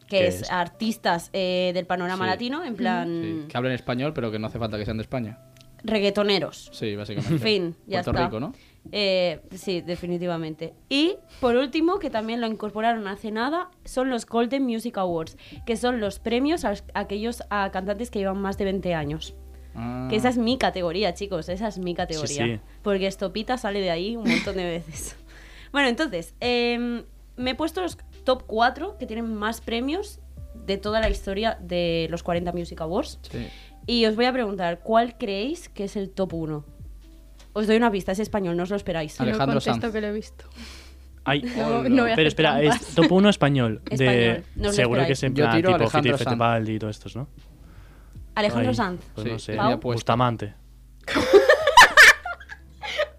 ¿Qué
que es,
es?
artistas eh, del panorama
Sí.
latino, en plan
Sí. Que hablen español, pero que no hace falta que sean de España.
reggaetoneros.
Sí, básicamente.
Fin, ya
Puerto
está.
Rico, ¿no?
Eh, sí, definitivamente. Y por último, que también lo incorporaron hace nada, son los Golden Music Awards, que son los premios a a aquellos a cantantes que llevan más de 20 años.
Ah,
Que esa es mi categoría, chicos, esa es mi categoría.
sí.
Porque Estopita sale de ahí un montón de veces. Bueno, entonces, em, me he puesto los top 4 que tienen más premios de toda la historia de los 40 Music Awards.
Sí.
Y os voy a preguntar, ¿cuál creéis que es el top 1? Os doy una pista, es español, no os lo esperáis.
Ale- Alejandro
no contesto
Sanz.
que lo he visto.
Ay,
No, no voy a hacer
pero espera,
trampas.
es top 1 español. De,
Español, no os lo
seguro que
esperáis.
es en
Yo
plan
tiro
tipo
Alejandro
Fiti
Sanz.
Festival y todo estos, ¿no?
Alejandro
Ay,
Sanz.
Pues no
Sí,
sé.
es mi apuesta.
Bustamante.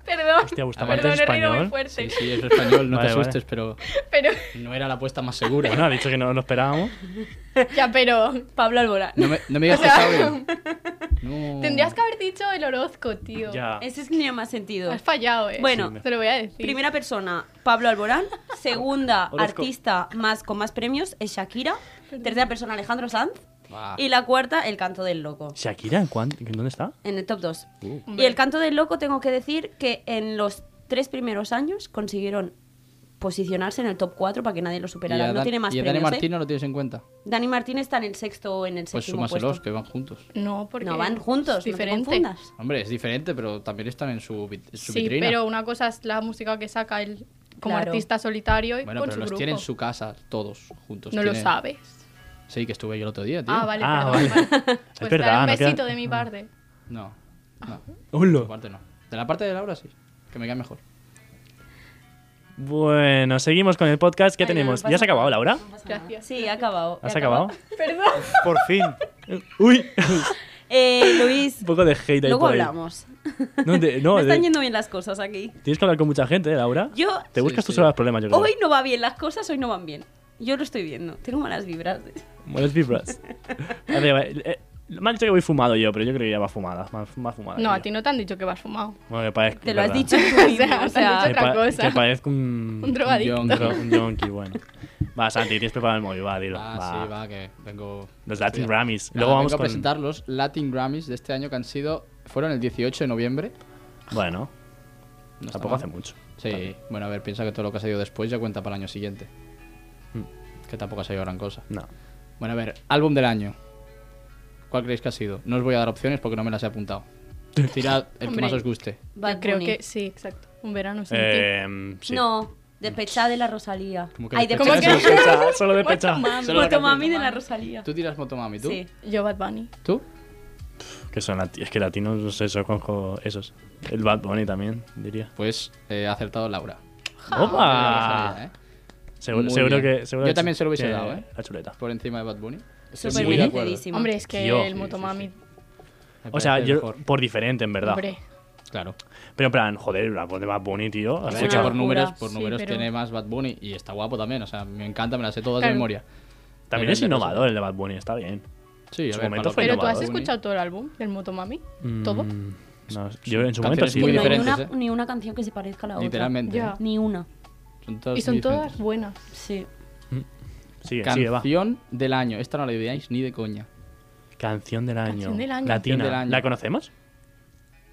Perdón.
Hostia, Bustamante
Perdón,
es
he reído
español.
muy fuerte.
Sí, sí, es español, no
Vale,
te
vale.
asustes, pero
Pero,
no era la apuesta más segura. ¿eh?
Bueno, ha dicho que no lo esperábamos.
ya, pero.
Uh.
Pablo Alborán.
No me, no me digas que está bien. No.
Tendrías que haber dicho el Orozco, tío.
Ya.
Ese es que tenía más sentido.
Has fallado, eh.
Bueno. Sí,
te lo voy a decir.
Primera persona, Pablo Alborán. Segunda,
Orozco.
artista más con más premios, es Shakira. Tercera persona, Alejandro Sanz.
Buah.
Y la cuarta, El Canto del Loco.
Shakira, ¿en cuán- en ¿dónde está?
En el top 2.
Uh.
Y
Hombre.
El Canto del Loco, tengo que decir que en los tres primeros años consiguieron posicionarse en el top 4 para que nadie lo
Y
superara.
a
no
Dan-
tiene más
¿Y a Dani
premios. ¿eh?
Martín no lo tienes en cuenta?
Dani Martín está en el sexto o en el
Pues
séptimo
súmaselos,
puesto.
que van juntos.
No, porque.
no van juntos,
es diferente.
no te confundas.
Hombre, es diferente, pero también están en su, vit- su
sí,
vitrina.
pero una cosa es la música que saca él como
Claro.
artista solitario y
Bueno,
con
pero
su
los
grupo.
tiene en su casa todos juntos.
no lo
Tiene-
sabes.
Sí, que estuve yo el otro día, tío.
Ah, vale,
Ah,
perdón.
vale.
vale. Pues
Es
dale
verdad, no
un
queda- Ah.
besito de mi parte.
No, no, de tu
¡Hola!
parte no. De la parte de Laura sí, que me cae mejor.
Bueno, seguimos con el podcast. ¿Qué
Ay, no,
tenemos?
no pasa
¿Ya se ha acabado, Laura?
Gracias.
Sí, ha acabado.
¿Has
ha
acabado?
Por fin.
¡Uy!
Eh, Luis,
Un poco de hate ahí
luego
por ahí.
hablamos.
No, de- no,
Me están
de-
yendo bien las cosas aquí.
Tienes que hablar con mucha gente, ¿eh, Laura.
Yo,
Te
Sí,
buscas tú
sí.
sola los problemas, yo creo.
hoy no va bien las cosas, hoy no van bien. Yo lo estoy viendo. Tengo malas vibras.
Buenas vibras. A ver, va- eh, me han dicho que voy fumado yo, pero yo creo que ya va fumada. Más, más fumada.
No,
que
a
yo.
ti no te han dicho que vas fumado.
Bueno, que parezco,
Te lo has
¿verdad?
dicho tú mismo,
O
o
sea,
sea,
Que
Otra
pa-
cosa.
Que parezco un...
Un drogadicto.
Un
un
yonki.
dro- un yonki, bueno. Va, Santi, tienes preparado el móvil, va, dilo.
Ah,
va.
sí, va, que vengo...
Los Latin
Estoy-
Grammys.
Nada,
Luego vamos
vengo
con-
a presentar los Latin Grammys de este año que han sido... Fueron el 18 de noviembre.
Bueno,
No está
tampoco
mal.
hace mucho.
Sí, bueno, a ver, piensa que todo lo que ha salido después ya cuenta para el año siguiente.
Hmm.
Que tampoco ha salido gran cosa.
No.
Bueno, a ver, álbum del año. ¿Cuál creéis que ha sido? No os voy a dar opciones porque no me las he apuntado. Tirad el que
Hombre.
más os guste.
Bad
Yo creo
Bunny.
que sí, exacto. Un verano sin
Eh, sí.
No, despechada de la Rosalía.
¿Cómo que
Ay,
despechada?
despechada.
¿Cómo
Solo despecha, solo
ti.
despecha.
Motomami.
Solo la
Motomami de la Rosalía.
Tú tiras Motomami, ¿tú?
Sí.
Yo Bad Bunny.
¿Tú?
Que son lati- es que latinos, no sé, son conjo- esos. El Bad Bunny también, diría.
Pues eh, ha acertado Laura.
Ah. ¡Opa!
¿eh?
Seguro,
Muy
seguro
bien.
que. seguro
Yo
que
también se lo hubiese
tiene
dado, ¿eh?
La chuleta.
Por encima de Bad Bunny. Estoy
Súper
muy de acuerdo.
merecidísimo.
Hombre, es que
Yo.
el
Sí,
Motomami.
Me
O sea,
parece
yo.
mejor.
Por diferente, en verdad.
Hombre.
Claro.
Pero en plan, joder, la voz de Bad Bunny, tío.
Es
ver,
que
escucha,
una
por
locura.
números, por
Sí,
números
pero-
tiene más Bad Bunny y está guapo también. O sea, me encanta, me las sé todas
Claro.
de memoria.
también
Pero
es
el de
innovador el de Bad Bunny, está bien.
Sí,
En
a
su
ver,
momento
para
fue
lo que
Pero
es
tú
Bad
has
Bunny.
escuchado todo el álbum del Motomami. Todo.
Mm, no, yo en su momento
canciones
sí.
muy
No
pero-
hay
diferentes,
una,
¿eh?
ni una canción que se parezca a la otra.
Literalmente.
Ya.
Ni una.
Son todas
Y son
muy
todas
diferentes.
buenas.
Sí.
Sigue, sigue, va.
Canción del año. Esta no la adivináis ni de coña.
Canción del año.
Canción del año.
Latina.
Canción del año.
¿La conocemos?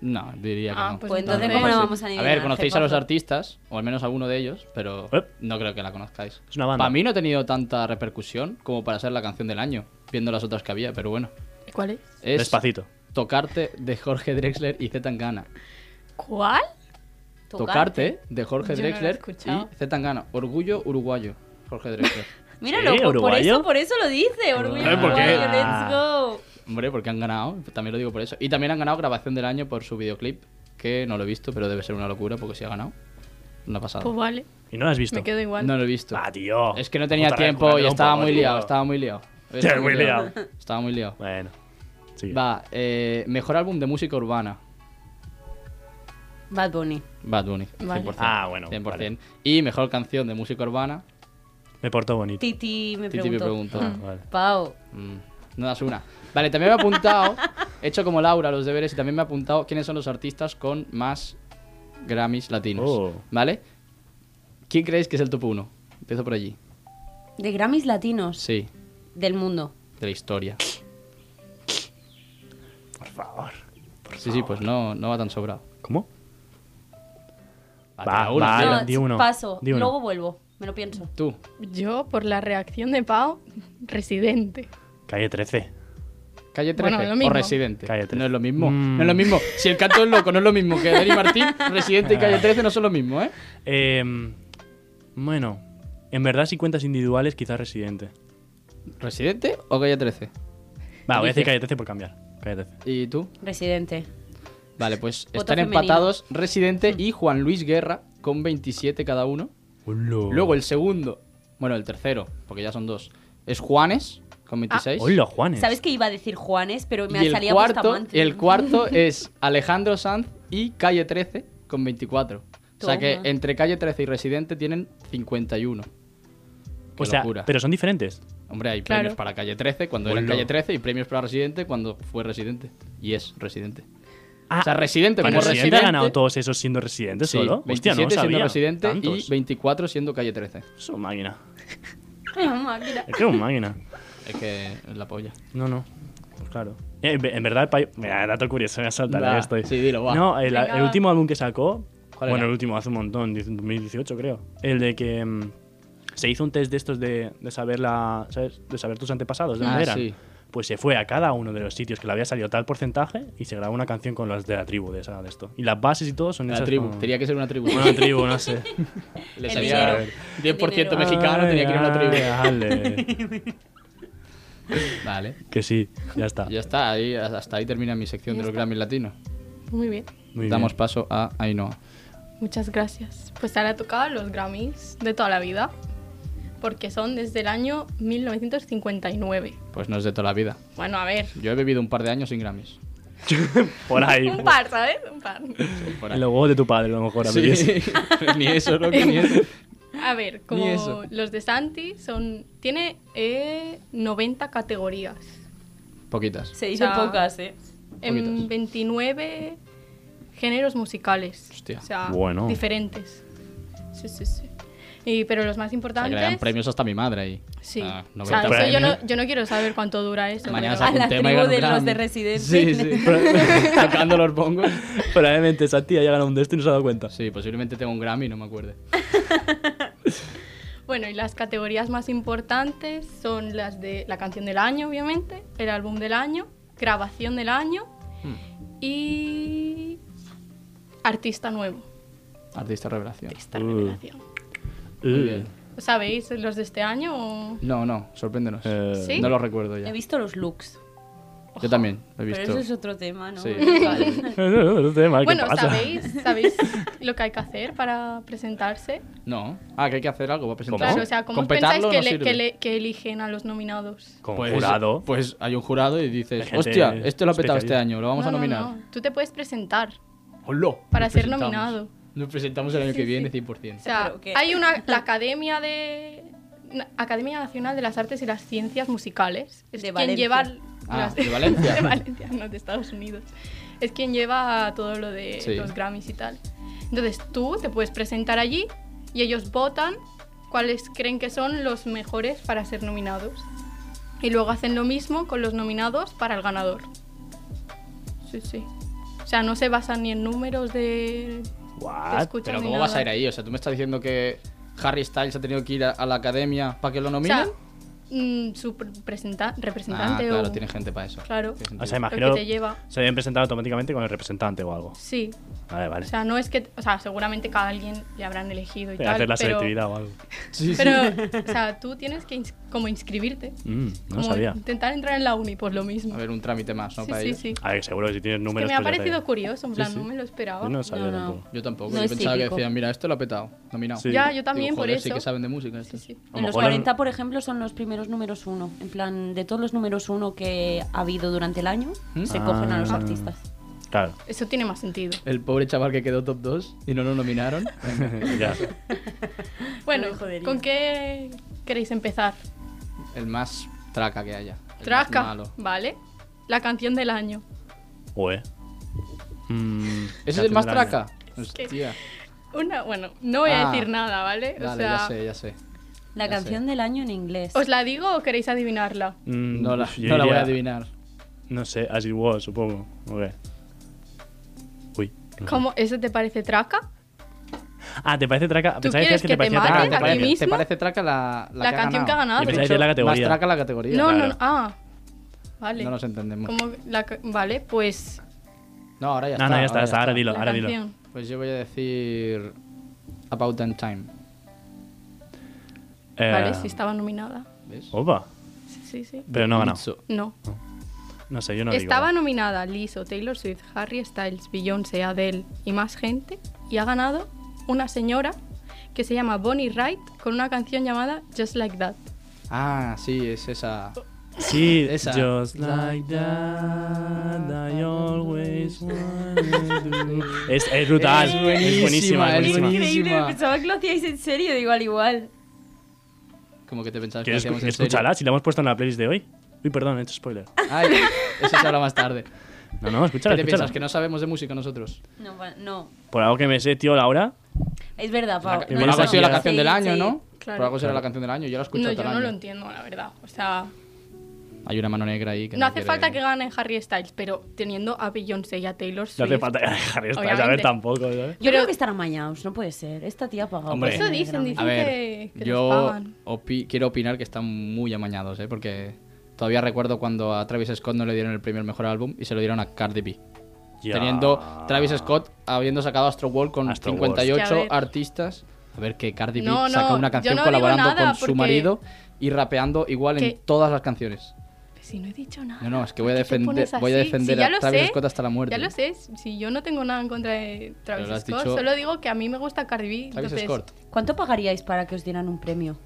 No, diría que
Ah,
no.
pues
Pues entonces,
No, no
¿cómo la
sé.
vamos a adivinar?
ver, conocéis a los
jefazo?
artistas, o al menos a alguno de ellos, pero
Eh.
no creo que la conozcáis.
Es una banda.
Para mí no ha tenido tanta repercusión como para ser la canción del año, viendo las otras que había, pero bueno.
¿Cuál es?
Es
Despacito.
Tocarte de Jorge Drexler y Z Tangana.
¿Cuál?
Tocarte de Jorge
Yo no lo he
Drexler
escuchado.
y Z Tangana. Orgullo uruguayo, Jorge Drexler.
Míralo,
Sí,
por- por
uruguayo.
eso, por eso lo dice, orgullo
Eh, ¿por qué?
uruguayo, let's go.
Hombre, porque han ganado, también lo digo por eso. Y también han ganado grabación del año por su videoclip, que no lo he visto, pero debe ser una locura porque sí ha ganado. Una pasada.
Pues vale,
Y Ah, no la has visto.
me quedo igual.
No lo he visto.
Ah, tío.
Es que no tenía
Otra vez,
tiempo y
cúrratelo un
estaba
poco,
muy
tío.
liado, estaba muy liado.
Estaba muy liado.
Estaba muy liado.
Bueno. Sigue.
Va, eh, mejor álbum de música urbana.
Bad Bunny.
Bad Bunny,
Vale.
100%.
Ah, bueno,
100%.
vale.
Y mejor canción de música urbana.
Me portó bonito.
Titi me
Titi me
preguntó.
preguntó.
Ah, vale.
Pau,
Mm, no das una. Vale, también me he apuntado, he hecho como Laura los deberes y también me he apuntado quiénes son los artistas con más Grammys latinos.
Oh.
¿Vale? ¿Quién creéis que es el top 1? Empiezo por allí.
de Grammys latinos
Sí,
del mundo.
de la historia.
Por favor.
Sí, sí, pues no, no va tan sobrado.
¿Cómo? Va,
Va, tira una.
va. Ah,
No,
la- di uno,
paso,
di uno.
luego vuelvo, me lo pienso.
Tú,
Yo, por la reacción de Pau, residente.
Calle 13.
Calle 13
Bueno, lo
o
mismo.
Residente.
Calle 13.
No es lo mismo.
Mm.
No es lo mismo. Si el canto es loco, no es lo mismo que Dani Martín, Residente y Calle 13 no son lo mismo, ¿eh?
Em, bueno. En verdad, si cuentas individuales, quizás residente.
¿Residente o Calle 13?
Va, voy a decir
Dices.
calle 13 por cambiar. Calle 13.
¿Y tú?
Residente.
Vale, pues
Voto
están
femenino. Mm.
empatados Residente y Juan Luis Guerra con 27 cada uno. Luego el segundo, bueno, el tercero, porque ya son dos, es Juanes con 26.
Hola, Juanes.
¿Sabes que iba a decir Juanes, pero Ah. me
y el
salía
cuarto,
Bustamante?
y el cuarto es Alejandro Sanz y Calle 13 con 24. O sea que
Toma.
entre Calle 13 y Residente tienen 51. Qué
o sea,
locura.
pero son diferentes.
Hombre, hay
Claro.
premios para Calle 13 cuando era
Hola.
Calle 13 y premios para Residente cuando fue Residente. Y es Residente.
Ah,
o sea, Residente como
¿Pero
Residente.
residente ha ganado todos esos siendo residentes
Sí,
solo?
27
Hostia, no lo
siendo
sabía.
Residente
Tantos.
y 24 siendo Calle 13.
Es una máquina.
Ay, máquina.
Es que es una máquina.
Es que es la polla.
No, no. Pues claro. Eh, En, en verdad, el país. Mira, dato curioso, me salta,
Va,
ya estoy.
sí, dilo, va.
No, el,
Venga,
el
va.
último álbum que sacó.
¿Cuál
Bueno,
era?
el último hace un montón, 2018 creo. El de que mm, se hizo un test de estos de, de saber la, ¿sabes? de saber tus antepasados, de
Ah,
dónde eran.
sí.
Pues se fue a cada uno de los sitios que le había salido tal porcentaje y se grabó una canción con los de la tribu de esa de esto. Y las bases y todo son
La
esas
tribu.
como-
Tenía que ser una tribu.
Una tribu, no sé.
Le
El
salía
dinero.
10%
Dinero.
mexicano, tenía que ir a una tribu.
tribu.
Vale.
Que sí, ya está.
Ya está, ahí, hasta ahí termina mi sección de los Grammys latinos.
Muy bien,
Muy
Damos
bien.
paso a Ainhoa.
muchas gracias. Pues ahora tocaba los Grammys de toda la vida, porque son desde el año 1959.
Pues no es de toda la vida.
Bueno, a ver,
Yo he vivido un par de años sin Grammys.
Por ahí.
un par, ¿sabes? Un par.
Por
En
ahí.
los huevos de tu padre, a lo mejor. a mí es-
Sí. ni eso, ¿no? Que ni eso.
A
Ni
ver, como
eso.
los de Santi son. Tiene eh, 90 categorías.
Poquitas.
Se dicen
O sea,
pocas, eh.
En
Poquitas.
29 géneros musicales.
Hostia.
O sea,
Bueno.
diferentes. Sí, sí, sí. Y, pero los más
O sea, que le dan
importantes.
premios hasta mi madre ahí.
Sí.
Ah,
O
90
sea, eso yo,
premios.
no, yo no quiero saber cuánto dura eso.
Mañana
pero-
saco
A
un
la
tema y
tribu
gano un
de los
Grammy.
de Residente.
Sí, sí. Tocando los bongos.
Probablemente esa tía ya ganó un de esto y no se ha dado cuenta.
Sí, posiblemente tenga un Grammy, no me acuerdo.
Bueno, y las categorías más importantes son las de la canción del año, obviamente, el álbum del año, grabación del año
Mm.
y artista nuevo.
Artista revelación.
Esta
Uh.
revelación.
Muy
Uh.
bien.
¿Sabéis los de este año? o-
No, no, sorpréndenos.
Eh,
¿Sí?
No lo recuerdo ya.
He visto los looks.
Yo también lo he
Pero
visto.
eso es otro tema, ¿no?
Sí.
No sé, mal, ¿qué
Bueno,
pasa?
¿sabéis, ¿sabéis lo que hay que hacer para presentarse?
No. Ah, que hay que hacer algo para presentar.
Claro, o sea, ¿cómo
Con
os pensáis
petarlo
que,
no
le-
sirve.
que le- que eligen a los nominados?
Con
Pues-
jurado.
Pues hay un jurado y dices,
Hay gente
hostia, este lo ha petado este
especialista.
año, lo vamos
No,
a
no,
nominar.
no, Tú te puedes presentar.
¡Hola!
Para
Nos
ser
presentamos.
nominado.
Nos presentamos el año que viene, 100%.
O sea,
Pero que-
hay una la Academia de na- Academia Nacional de las Artes y las Ciencias Musicales. Es
De
quien
Valencia.
lleva
Ah,
las-
de Valencia.
de Valencia, no de Estados Unidos. Es quien lleva todo lo de
Sí.
los Grammys y tal. Entonces, tú te puedes presentar allí y ellos votan cuáles creen que son los mejores para ser nominados. Y luego hacen lo mismo con los nominados para el ganador. Sí, sí. O sea, no se basan ni en números de...
What?
escucho.
Pero
ni
¿cómo
nada.
vas a ir ahí? O sea, tú me estás diciendo que Harry Styles ha tenido que ir a, a la academia para que lo
O
nominen.
sea, mm, su presenta-
ah,
representante
claro,
o...
tiene gente para eso.
Claro.
Tiene sentido.
O sea,
Lo que
imagino
te lleva.
se habían presentado automáticamente con el representante o algo.
Sí.
Vale, vale.
O sea, no es que... O sea, seguramente cada alguien le habrán elegido y
Voy a
tal,
hacer la
pero...
selectividad o algo.
Sí, sí.
Pero, o sea, tú tienes que ins- como inscribirte.
Mm, no
como
sabía.
Intentar entrar en la uni, pues lo mismo.
A ver, un trámite más, ¿no?
sí,
para
sí,
ellos. Ah,
sí.
A ver, seguro que si tienes
Es
números.
que me ha
pues ya te-
parecido curioso, en
Sí,
plan,
sí.
no me lo esperaba.
Yo no sabía
No, no.
tampoco.
Yo tampoco.
No
yo
es
pensaba
típico.
que decían, mira, esto lo ha petado, nominado.
Sí.
Ya, yo también,
Digo,
por
joder,
eso.
sí que saben de música. estos.
Sí, sí.
A lo
En los
mejor en-
40, por ejemplo, son los primeros números uno. En plan, de todos los números uno que ha habido durante el año,
¿Mm?
se cogen a los
Ah.
artistas.
Claro.
Eso tiene más sentido.
El pobre chaval que quedó top 2 y no lo nominaron.
ya.
Bueno,
me jodería.
¿con qué queréis empezar?
el más traca que haya. el más
Traca,
malo.
¿vale? La canción del año.
Ue. Mm, ya
¿Ese es el más
tendrán-
traca?
que-
Hostia.
Una, bueno, no voy a
Ah.
decir nada, ¿vale? O
Dale,
sea,
ya sé, ya sé.
La
Ya
canción
sé.
del año en inglés.
¿os la digo o queréis adivinarla?
Mm,
No la,
yo
no la voy a
diría-
adivinar.
No sé, as it was, supongo. Ok. Uy. no sé.
¿Cómo? ¿Eso te parece traca?
Ah, ¿te parece traca?
¿Tú
Pensaba que decías
quieres
que
que
te
te
parecía
mate
traca.
a
Ah, te,
ti
parece,
mismo?
te parece traca la, la,
La canción que ha ganado.
Y
Has
pensaba
dicho
que la categoría.
Más traca la categoría.
No, no,
claro.
no. Ah, vale.
No nos entendemos.
Como la ca- vale, pues
No, ahora ya
No,
está.
no, ya está, ya está. Ahora dilo,
la
ahora dilo.
canción.
Pues yo voy a decir About That Time.
Eh,
Vale, sí estaba nominada.
¿Ves?
Opa.
Sí, sí, sí.
Pero no ha ganado.
Mitsu.
No.
No sé, yo no
Estaba
digo.
nominada Lizzo, Taylor Swift, Harry Styles, Beyoncé, Adele y más gente. Y ha ganado una señora que se llama Bonnie Wright con una canción llamada Just Like That.
Ah, sí, es esa.
Sí,
Esa.
just like that, I always wanna do. Es, es brutal,
Es
es buenísima,
buenísima,
es
es
buenísima.
buenísima. Buenísima.
pensaba que lo hacíais en serio, digo al igual.
Como que te pensabas que
¿Quieres
hacíamos
escu-
en serio.
escúchala? Si la hemos puesto en la playlist de hoy. Uy, perdón, he hecho spoiler.
Ay, eso se habla más tarde.
No, no,
¿Qué
escúchala,
te
escúchala.
piensas? ¿Que no sabemos de música nosotros?
No, va- no.
Por algo que me sé, tío, Laura.
Es verdad, Pau.
ca-
No,
Por
Esa
algo ha
no,
sido la
no.
sí,
canción del
Sí,
año,
sí.
¿no?
Claro.
Por algo será la canción del año. Yo la escucho
No,
todo
yo
el
no lo
año.
entiendo, la verdad. O sea,
Hay una mano negra ahí que
no,
no,
hace
quiere-
falta que gane Harry Styles, pero teniendo a Beyoncé y a Taylor Swift.
No hace falta dejar esta, a ver
Obviamente.
tampoco, ¿sabes?
Yo creo que estarán mañados, no puede ser. Esta tía ha pagado.
Hombre.
Eso dicen, dicen
A
que,
ver,
que les
yo
pagan.
opi- quiero opinar que están muy amañados, ¿eh? Porque todavía recuerdo cuando a Travis Scott no le dieron el premio al mejor álbum y se lo dieron a Cardi B.
Ya.
Teniendo Travis Scott habiendo sacado Astro World con
Astroworld.
58
Es que, a ver.
artistas. A ver, que Cardi B
No, no,
saca una
yo
canción
no digo
colaborando
nada,
con su
porque-
marido y rapeando igual en
Que-
todas las canciones.
Si no he dicho nada.
No, no, es que voy a
¿por qué te
defender,
pones
voy a
así? Si
defender
ya
a
lo
Travis
sé,
Scott hasta la muerte.
Ya lo sé, si yo no tengo nada en contra de Travis
lo has
Scott,
dicho-
solo digo que a mí me gusta Cardi B.
Travis
entonces,
Scott.
¿Cuánto pagaríais para que os dieran un premio?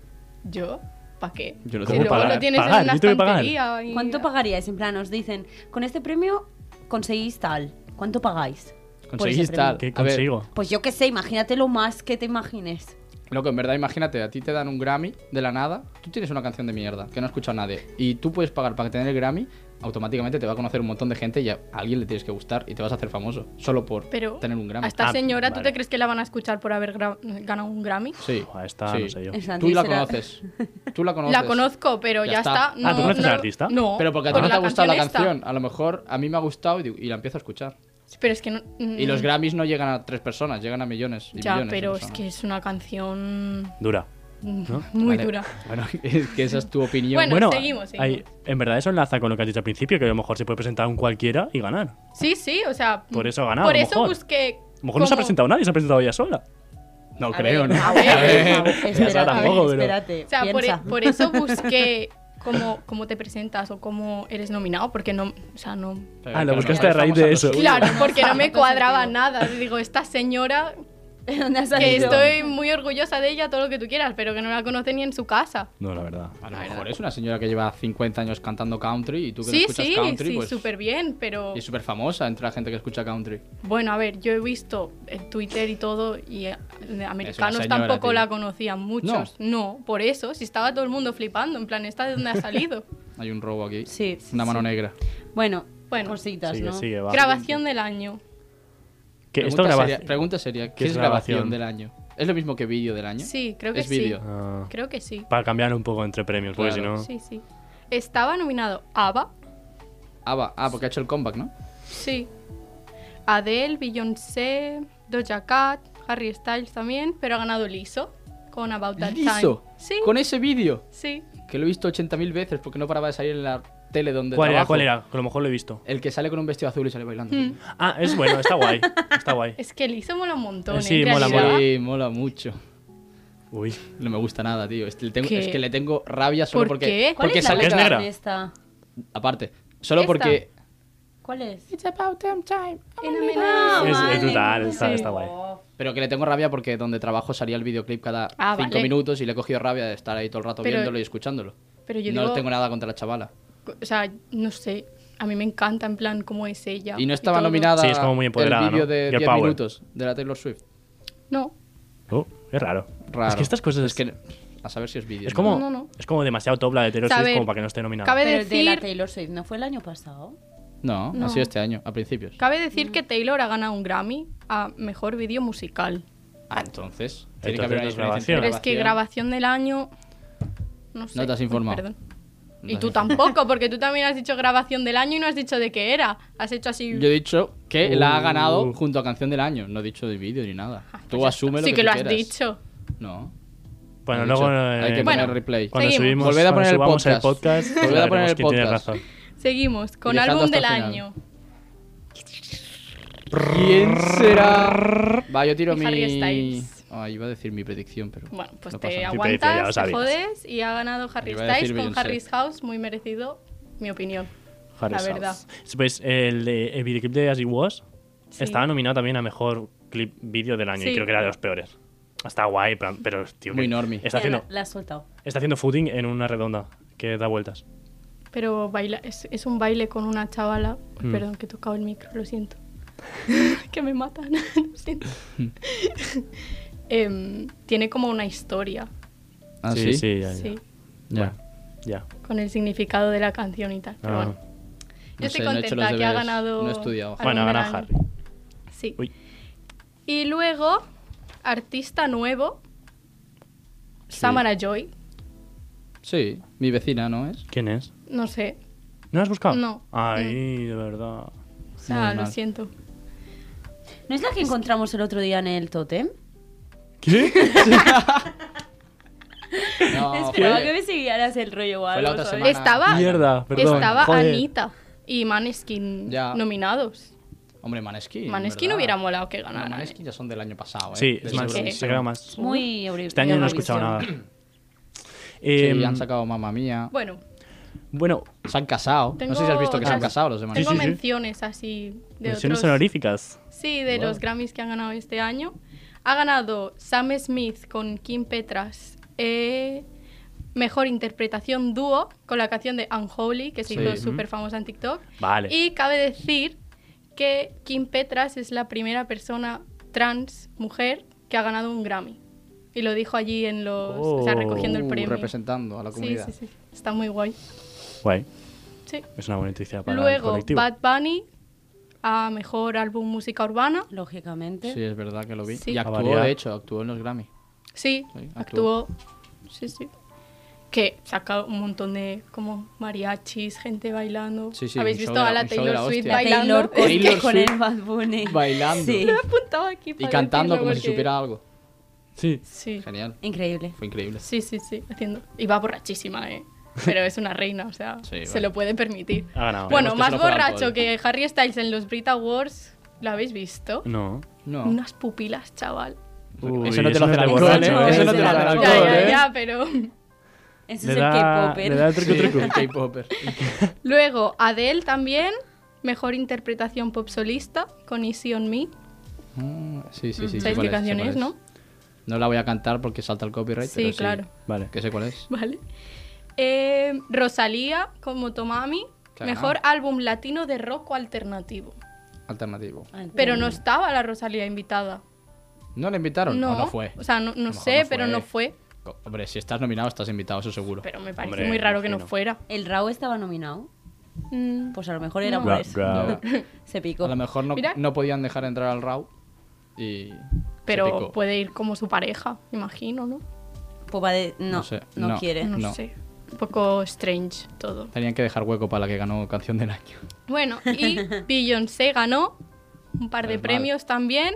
¿Yo? ¿Para qué?
Yo lo
Si
tengo que
luego
pagar.
lo tienes
Pagar,
en una
yo tengo que pagar.
estantería y-
¿Cuánto pagaríais? En plan, os dicen, con este premio conseguís tal. ¿Cuánto pagáis? por
Conseguís
ese premio?
tal.
¿Qué
A ver,
consigo?
Pues yo qué sé, imagínate lo más que te imagines.
Loco, en verdad, imagínate, a ti te dan un Grammy de la nada, tú tienes una canción de mierda que no ha escuchado nadie y tú puedes pagar para tener el Grammy, automáticamente te va a conocer un montón de gente y a alguien le tienes que gustar y te vas a hacer famoso solo por
Pero
tener un Grammy.
a esta
Ah,
señora, ¿tú
vale.
te crees que la van a escuchar por haber gra- ganado un Grammy?
Sí.
Buah, esta
sí.
no sé yo.
Es
Tú la
será-
conoces. Tú la conoces.
La conozco, pero
Ya
ya,
está.
está.
Ah, ¿tú conoces
no,
al artista?
No.
Pero porque a ti
por
no te ha gustado la
esta.
canción. A lo mejor a mí me ha gustado y, digo- y la empiezo a escuchar.
Pero es que no...
Y los Grammys no llegan a tres personas, llegan a millones. Y
Mm. Ya,
millones de
pero es
personas.
que es una canción
Dura.
muy
Vale.
dura.
Bueno, es que esa es tu opinión.
Bueno,
Bueno,
seguimos, seguimos.
hay- en verdad eso enlaza con lo que has dicho al principio, que a lo mejor se puede presentar un cualquiera y ganar.
Sí, sí, o sea...
Por eso ha ganado,
Por
a lo
eso
mejor.
busqué...
A lo mejor no se ha
como-
presentado nadie, se ha presentado ella sola.
no
A
creo,
ver,
¿no?
a ver,
A ver.
Ah,
a ver, espérate,
tampoco, pero-
espérate,
O sea, por, e-
piensa.
por eso busqué cómo, cómo te presentas o cómo eres nominado, porque no, o sea, no...
Pero
Ah, lo
claro,
buscaste a
estamos
raíz de
lo
eso.
suyo.
Claro, porque no me
Tampoco
cuadraba
sentido.
nada. Digo, esta señora,
¿De dónde has
que
salido?
estoy muy orgullosa de ella, todo lo que tú quieras, pero que no la conoce ni en su casa.
No, la verdad.
A lo mejor es una señora que lleva 50 años cantando country y tú que no
Sí,
escuchas
sí,
country,
sí,
pues.
súper bien, pero...
Y es súper famosa entre la gente que escucha country.
Bueno, a ver, yo he visto en Twitter y todo y eh, americanos
señora,
tampoco
tío.
la conocían muchos. No. por eso, si estaba todo el mundo flipando, en plan, ¿esta de dónde ha salido?
Hay un robo aquí.
Sí.
Una mano negra.
Bueno,
Bueno.
cositas,
Sigue,
¿no?
sigue, va.
Grabación del año.
Que esto
pregunta,
graba-
seria, pregunta seria, ¿qué
es
es
grabación?
grabación del año? ¿Es lo mismo que vídeo del año?
Sí, creo que
¿Eh? Es
sí.
vídeo. Ah.
Ah,
Creo que sí.
para cambiar un poco entre premios, porque
Claro.
si no.
Sí, sí. Estaba nominado ABBA,
Ah, va. Ah, porque ha hecho el comeback, ¿no?
sí. Adele, Beyoncé, Doja Cat, Harry Styles también, pero ha ganado Liso con About That
¡Liso!
Time. Sí,
Con ese vídeo.
sí.
Que lo he visto 80.000 veces porque no paraba de salir en la tele donde
¿Cuál era?
trabajo.
¿Cuál era? Que a lo mejor lo he visto.
El que sale con un vestido azul y sale bailando.
Mm.
Ah, es bueno, está guay. Está guay.
Es que Liso mola un montón.
Eh, sí,
en
mola,
realidad.
Sí, mola mucho.
Uy.
No me gusta nada, tío. Es, le tengo-
¿Qué?
es que le tengo rabia solo
¿Por
porque.
qué?
¿Cuál
Porque
es
sale.
la
Es
canción
negra.
esta?
Aparte. Solo
Esta.
porque.
¿Cuál es?
En homenaje.
Es- es
vale.
brutal, está-
Sí.
está guay.
Pero que le tengo rabia porque donde trabajo salía el videoclip cada
Ah,
cinco
vale.
minutos y le he cogido rabia de estar ahí todo el rato
Pero-
viéndolo y escuchándolo.
Pero yo
no
digo-
tengo nada contra la chavala.
O sea, no sé. A mí me encanta en plan cómo es ella.
Y no estaba
Ah, todo.
nominada
Sí, es como muy empoderada,
el vídeo
¿no?
de
Girl
10
power.
minutos de la Taylor Swift.
No.
Oh, es raro.
Raro.
Es que estas cosas
Es que a saber si es vídeo.
Es como,
No, no.
es como demasiado top la de Taylor
O sea, a
Swift
ver,
como para que no esté nominada.
cabe-
Pero el de la
decir-
Taylor Swift, ¿no fue el año pasado?
No,
No.
ha sido este año, a principios.
Cabe
Mm.
decir que Taylor ha ganado un Grammy a mejor vídeo musical.
Ah, entonces.
Entonces no es
diferencia
grabación.
Pero
entre
es que grabación del año. No sé.
No te has
Uy,
informado.
perdón.
No
Y
te
tú
has
tampoco, porque tú también has dicho grabación del año y no has dicho de qué era. Has hecho así.
Yo he dicho que la ha
Uh.
ganado junto a canción del año. No he dicho de vídeo ni nada.
Ah,
Tú asume
pues sí, que,
tú
lo has
quieras.
dicho.
No.
bueno,
Lo he
luego
dicho. Hay que
eh,
poner
Bueno,
replay.
cuando
Seguimos.
subimos
Volved a
cuando
poner el
subamos el
podcast.
podcast,
Volved a
veremos
poner el
quién tiene
podcast.
razón.
Seguimos con
Viajando
álbum
hasta
del
el final.
año.
¿Quién será? Va, yo tiro
Y Harry
mi.
Styles.
Ah, iba a decir mi predicción, pero.
Bueno, pues
no pasa
te
nada.
agu- Sí, pero ya lo
aguantas, te
sabías.
jodes y ha ganado Harry
Iba a decir
Styles con
Beyoncé.
Harry's House. Muy merecido, mi opinión.
Harry
La
Styles.
verdad.
Sí, Pues el, de- el videoclip de As It Was
Sí.
estaba nominado también a mejor clip vídeo del año y
Sí.
creo que era de los peores. Está guay, pero, pero, tío, que
Muy normie.
Está
Ya, la-
haciendo,
La has soltado.
está haciendo footing en una redonda que da vueltas.
Pero baila, es, es un baile con una chavala. Uy,
Mm.
Perdón, que he tocado el micro, lo siento. que me matan, lo siento. Em, tiene como una historia,
Ah,
sí, sí, ya, ya.
sí,
Ya.
ya.
con el significado de la canción y tal. Pero
Ah.
bueno, yo
No
estoy
sé, no he hecho
contenta
los
que ha
deberes,
ganado.
no he estudiado.
álbum
Bueno,
del
gana
año.
Harry.
Sí.
Uy.
Y luego, artista nuevo, Samara Joy.
Sí, mi vecina, ¿no es?
¿Quién es?
No sé,
¿No lo has buscado?
No.
Ay, de verdad.
o sea,
Normal.
lo siento.
¿No es la que encontramos el otro día en el Totem?
¿Qué?
No,
Esperaba
fue-
que me siguieras el rollo o
Fue la
algo.
otra
¿sabes?
semana.
Estaba,
Mierda, perdón.
estaba
Joder.
Anita y Maneskin
Ya.
nominados.
Hombre, Maneskin.
Maneskin
¿verdad?
hubiera molado que
No,
ganara. ¿eh?
Maneskin ya son del año pasado, ¿eh?
Sí, es
Del
más,
Sí.
se ha quedado más.
Muy horrible.
Este año no he escuchado nada.
Sí,
Em,
han sacado Mamma Mía.
Bueno,
bueno,
Se han casado.
Tengo
No sé si has visto que se han
otras-
casado los demás.
tengo
sí, sí.
menciones así de
versiones
otros.
honoríficas.
Sí, de
Wow.
los Grammys que han ganado este año. Ha ganado Sam Smith con Kim Petras. eh, mejor interpretación dúo con la canción de Unholy, que se
Sí.
hizo
Ujú.
súper famosa en TikTok.
Vale.
Y cabe decir que Kim Petras es la primera persona trans mujer que ha ganado un Grammy. Y lo dijo allí en los. O sea,
Oh.
recogiendo el
Uh,
premio.
representando a la
Sí,
comunidad.
sí, sí. Está muy guay.
Guay.
Sí.
Es una buena noticia para el
Luego,
colectivo.
Bad Bunny a mejor álbum música urbana.
Lógicamente.
Sí, es verdad que lo vi.
Sí.
Y
A
actuó,
variar.
de hecho, actuó en los Grammy.
Sí,
Sí,
actuó. Sí, sí. Que saca un montón de como mariachis, gente bailando.
Sí, sí,
Habéis
un show
visto
de la-
a la
un show de
Taylor
la
Swift
hostia.
La
bailando.
Taylor, con-
Taylor
con
Swift
el Bad Bunny.
bailando.
Sí.
Lo he apuntado aquí
Y
para
cantando
decirlo
como si
porque-
supiera algo.
Sí.
Sí.
Genial.
Increíble.
Fue increíble.
Sí, sí, sí, haciendo. Y va borrachísima, ¿eh? Pero es una reina, o sea,
Sí,
se
vale.
lo puede permitir.
Ha ganado.
bueno,
que
más
solo por
borracho
alcohol.
que Harry Styles en los Brit Awards, ¿lo habéis visto?
No.
No.
Unas pupilas, chaval.
Uy,
eso no te lo hace el
es de
alcohol,
borracho,
¿eh?
¿eh? Eso no te lo hace el
Ya,
Ya,
alcohol,
ya,
¿eh?
ya, pero...
Ese
¿eh? Le
es el
da,
K-Popper.
le da truco,
Sí,
truco.
el K-Popper.
Luego, Adele también, mejor interpretación pop solista con Easy on Me.
Mm, Sí, sí, sí. sé
¿Sabéis
cuál
qué
es, sé
canción
cuál
es,
es.
no?
No la voy a cantar porque salta el copyright.
Sí,
pero
claro.
Vale.
Que sé cuál es.
Vale. Eh, Rosalía con Motomami,
Que ha
mejor
ganado.
álbum latino de rock o alternativo.
Alternativo.
Ay,
Pero no estaba la Rosalía invitada.
¿No le invitaron?
No,
¿O no fue?
O sea, no,
A lo
no
mejor
sé,
no
pero
fue.
no fue.
Co- Hombre, si estás nominado, estás invitado, eso seguro.
Pero me parece
Hombre,
muy raro que no
imagino.
fuera.
¿El Rao estaba nominado?
Mm,
Pues a lo mejor era
No.
por
Ra-
eso.
ra-
Ya.
Se picó.
A lo mejor no,
Mira.
no podían dejar entrar al RAW y. se
Pero
picó.
puede ir como su pareja, imagino, ¿no?
Pues va de- No,
No sé,
no,
no.
quiere.
No,
¿Eh? No.
sé. Un poco strange todo.
Tenían que dejar hueco para la que ganó canción del año.
Bueno, y Beyoncé ganó un par de
Normal.
premios también.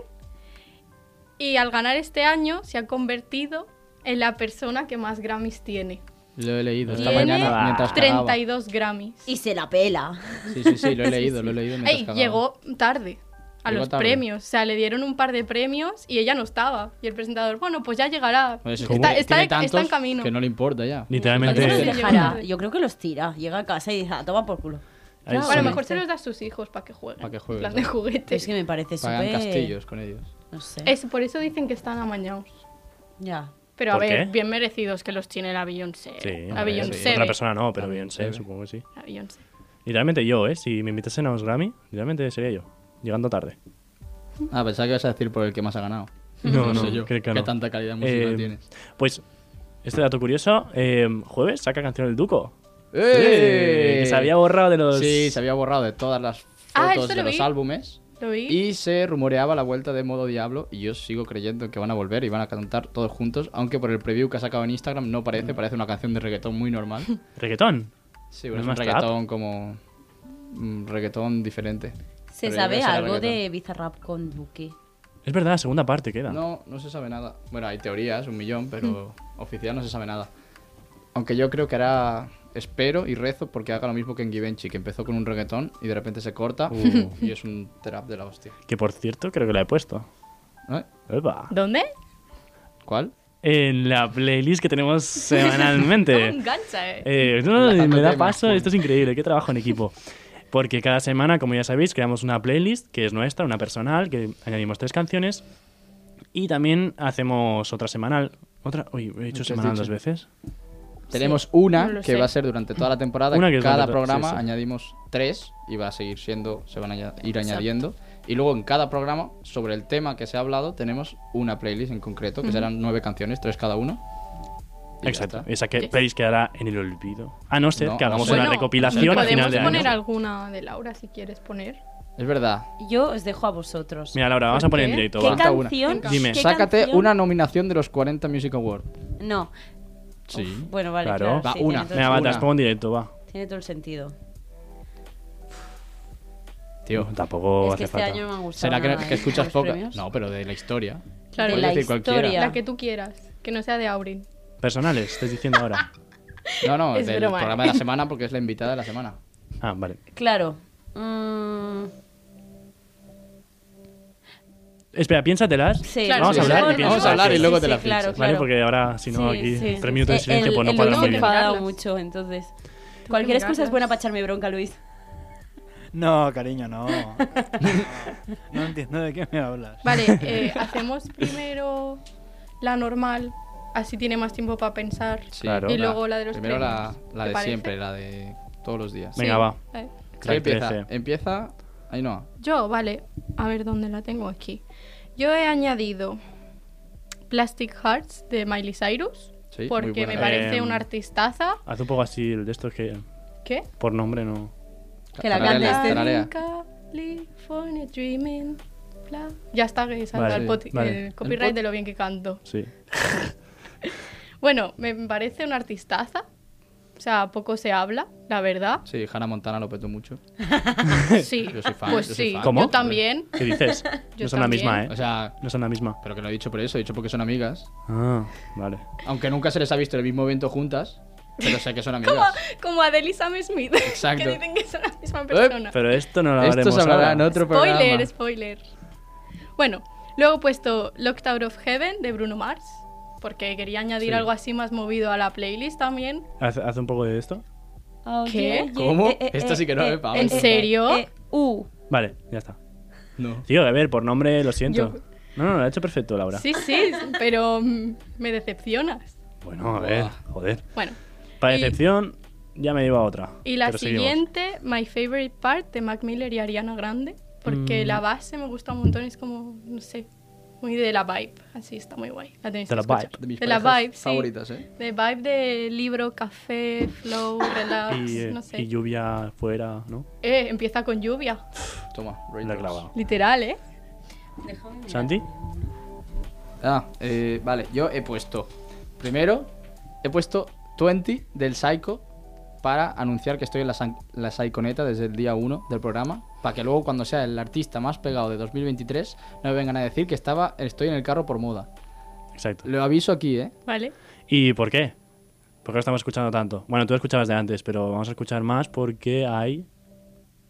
Y al ganar este año se ha convertido en la persona que más Grammys tiene.
Lo he leído esta
Tiene
mañana mientras cagaba.
32 Grammys.
Y se la pela.
Sí, sí, sí, lo he leído, lo he leído mientras
Ey,
cagaba.
llegó tarde a
Llegó
los
tarde.
premios. O sea, le dieron un par de premios y ella no estaba. Y el presentador, bueno, pues ya llegará.
Pues es que
está,
tiene
está- está
tantos
en camino.
Que no le importa ya.
Yo
Literalmente.
creo, que
Sí.
los dejará. Yo creo que los tira. Llega a casa y dice, ah, toma por culo.
ahí
Claro,
Bueno, a
solo-
lo mejor se los da a sus hijos para que jueguen.
Pa' que jueguen,
en plan de
¿no?
juguete.
Es que me parece
Pagan
súper...
castillos con ellos.
No sé.
Es, por eso dicen que están amañados.
Ya.
Pero a
¿Por
ver,
qué?
bien merecidos que los tiene la Beyoncé.
Sí,
la
hombre,
Ah, Beyoncé.
sí.
ve.
Otra persona no, pero
La
Beyoncé,
Beyoncé.
supongo que sí.
La Beyoncé.
Literalmente yo, ¿eh? Si me invitasen a los Grammy, literalmente sería yo. Llegando tarde.
Ah, pensaba que ibas a decir por el que más ha ganado.
No, no,
sé yo.
creo que
qué
no.
tanta calidad musical
Eh,
tienes.
Pues, este dato curioso, eh, jueves saca canción El Duco.
¡Eh!
Que se había borrado de los...
Sí, se había borrado de todas las
Ah,
fotos
esto
de
lo
los
vi.
álbumes.
¿Lo vi?
Y se rumoreaba la vuelta de modo Diablo. Y yo sigo creyendo que van a volver y van a cantar todos juntos. Aunque por el preview que ha sacado en Instagram no parece, parece una canción de reggaetón muy normal.
¿Reggaetón? Mm.
Sí, bueno, es
No
un
es más trap.
reggaetón como. Un reggaetón diferente.
¿Se
Pero yo creo
sabe
que será
algo
reggaetón.
de Bizarrap con Duque?
Es verdad, segunda parte queda.
No, no se sabe nada. Bueno, hay teorías, un millón, pero oficial no se sabe nada. Aunque yo creo que hará. Espero y rezo porque haga lo mismo que en Givenchy, que empezó con un reggaetón y de repente se corta y es un trap de la hostia.
Que por cierto, creo que la he puesto.
¿Eh?
Epa.
¿Dónde?
¿Cuál?
En la playlist que tenemos
No
Oh,
semanalmente.
engancha, eh.
Eh, no, no,
Lanzando
me da
temas,
paso,
Juan.
esto es increíble, qué trabajo en equipo. Porque cada semana, como ya sabéis, creamos una playlist que es nuestra, una personal, que añadimos tres canciones. Y también hacemos otra semanal. Otra, uy, he hecho
has
semanal
dicho?
dos veces.
Tenemos
no lo
una que
sé.
va a ser durante toda la temporada.
Una que es
cada
durante to-
programa
sí, sí.
añadimos tres y va a seguir siendo, se van a aña- ir añadiendo. Y luego en cada programa, sobre el tema que se ha hablado, tenemos una playlist en concreto, que serán nueve canciones, tres cada uno. Y ya
Exacto.
está.
Esa que
Yes.
playlist quedará en el olvido. A no ser
No,
que
a
hagamos
no ser.
una
Bueno,
recopilación a
podemos
final de
poner
año.
alguna de Laura si quieres poner.
Es verdad.
Yo os dejo a vosotros.
Mira, Laura, vamos a
¿Por
poner en
qué?
directo.
¿Qué
va.
Falta una.
canción?
Dime.
¿Qué
Sácate
canción?
una nominación de los 40 Music Awards.
No.
Sí.
Uf, bueno, vale.
Claro.
Claro.
Va,
sí,
una.
Tiene todo,
Venga, va, te
Una.
las pongo en directo, va.
tiene todo el sentido.
Tío,
Tampoco
es
hace
que este
falta.
año no me han gustado.
¿será que,
nada,
que
¿eh?
escuchas
Los
poca?
premios.
No, pero de la historia.
Claro,
Puedes
la
decir cualquiera.
historia.
La que tú quieras, que no sea de Aurin.
Personales, estás diciendo ahora.
No, no,
Es
del
broma, ¿eh?
programa de la semana porque es la invitada de la semana.
Ah, vale.
Claro. Mm,
Espera, piénsatelas.
sí.
Claro,
Vamos a
sí,
hablar
mejor,
y
mejor.
piensas.
Vamos a hablar y
Sí,
luego
sí,
te la
sí, claro,
fichas.
Vale,
claro.
porque ahora, si no,
Sí,
aquí
sí,
tres
sí.
minutos de
Eh,
silencio,
el-
pues no
el
cuadra
Luis
muy
me
bien.
enfada
Carlas.
mucho, entonces.
que
Cualquier excusa es
mirarlas.
buena para echarme bronca, Luis.
No, cariño, no. No, no entiendo de qué me hablas.
Vale, eh, hacemos primero la normal, así tiene más tiempo para pensar.
Sí.
Claro.
Y luego la de los
Primero la,
premios,
la
¿te
de
parece?
siempre, la de todos los días.
Venga, va.
Eh,
¿Qué
Track
empieza?
13.
Empieza. Ahí no.
Yo, vale, a ver dónde la tengo aquí. Yo he añadido Plastic Hearts de Miley Cyrus,
Sí, muy
porque
buena
me
canción.
parece
Em,
una artistaza.
Haz un poco así el de estos que
¿Qué?
por nombre no.
Que la
Tararea,
cantes.
tararea.
California Dreaming. bla. Ya está, que salga
Vale,
el, poti-
vale.
el copyright
El pot-
de lo bien que canto.
Sí.
Bueno, me parece una artistaza. O sea, poco se habla, la verdad.
Sí, Hannah Montana lo petó mucho.
Sí,
Yo soy fan,
pues
yo soy
sí.
fan.
¿Cómo?
Yo también.
¿Qué dices?
Yo
no son la
también.
misma, ¿eh?
O sea,
No son la misma.
pero que no he dicho por eso, he dicho porque son amigas.
Ah, vale.
Aunque nunca se les ha visto en el mismo evento juntas, pero sé que son amigas.
Como Adele y Sam Smith.
Exacto.
que dicen que son la misma persona.
Pero esto no lo haremos
Esto se hablará
ahora.
en otro
spoiler,
programa.
spoiler. Bueno, luego he puesto Locked Out of Heaven de Bruno Mars. Porque quería añadir
Sí.
algo así más movido a la playlist también.
Haz, haz un poco de esto.
Oh,
¿Qué?
yeah, yeah,
¿Cómo?
eh, eh,
Esto Oh, sí que no
eh,
me pago.
eh,
¿En
eh,
serio?
eh, uh,
Vale, ya está.
No.
Tío, a ver, por nombre lo siento.
Yo-
No, no, lo ha hecho perfecto,
eh.
Laura.
Sí, sí, pero mm, me decepcionas.
Bueno, a ver, joder.
Bueno,
Para
Y-
decepción, ya me lleva otra.
y la
Pero seguimos.
siguiente, My Favorite Part de Mac Miller y Ariana Grande. Porque
Mm.
la base me gusta un montón, es como, no sé, muy de la vibe. Así está muy guay. La tenéis
De
que
la
escuchar.
vibe.
De mis
De la
parejas
vibe, sí.
favoritas, ¿eh?
De vibe de libro, café, flow, relax,
Y, eh,
no sé.
y lluvia fuera, ¿no?
Eh, empieza con lluvia,
Toma,
La he clavado.
literal, ¿eh?
Déjame mirar.
Santi.
Ah, eh, vale, yo he puesto. Primero, he puesto 20 del Psycho para anunciar que estoy en la, san- la Psychoneta desde el día 1 del programa. Para que luego, cuando sea el artista más pegado de 2023, no me vengan a decir que estaba, estoy en el carro por moda.
Exacto.
Lo aviso aquí, ¿eh?
¿Vale?
¿Y por qué? ¿Por qué lo estamos escuchando tanto? Bueno, tú lo escuchabas de antes, pero vamos a escuchar más porque hay...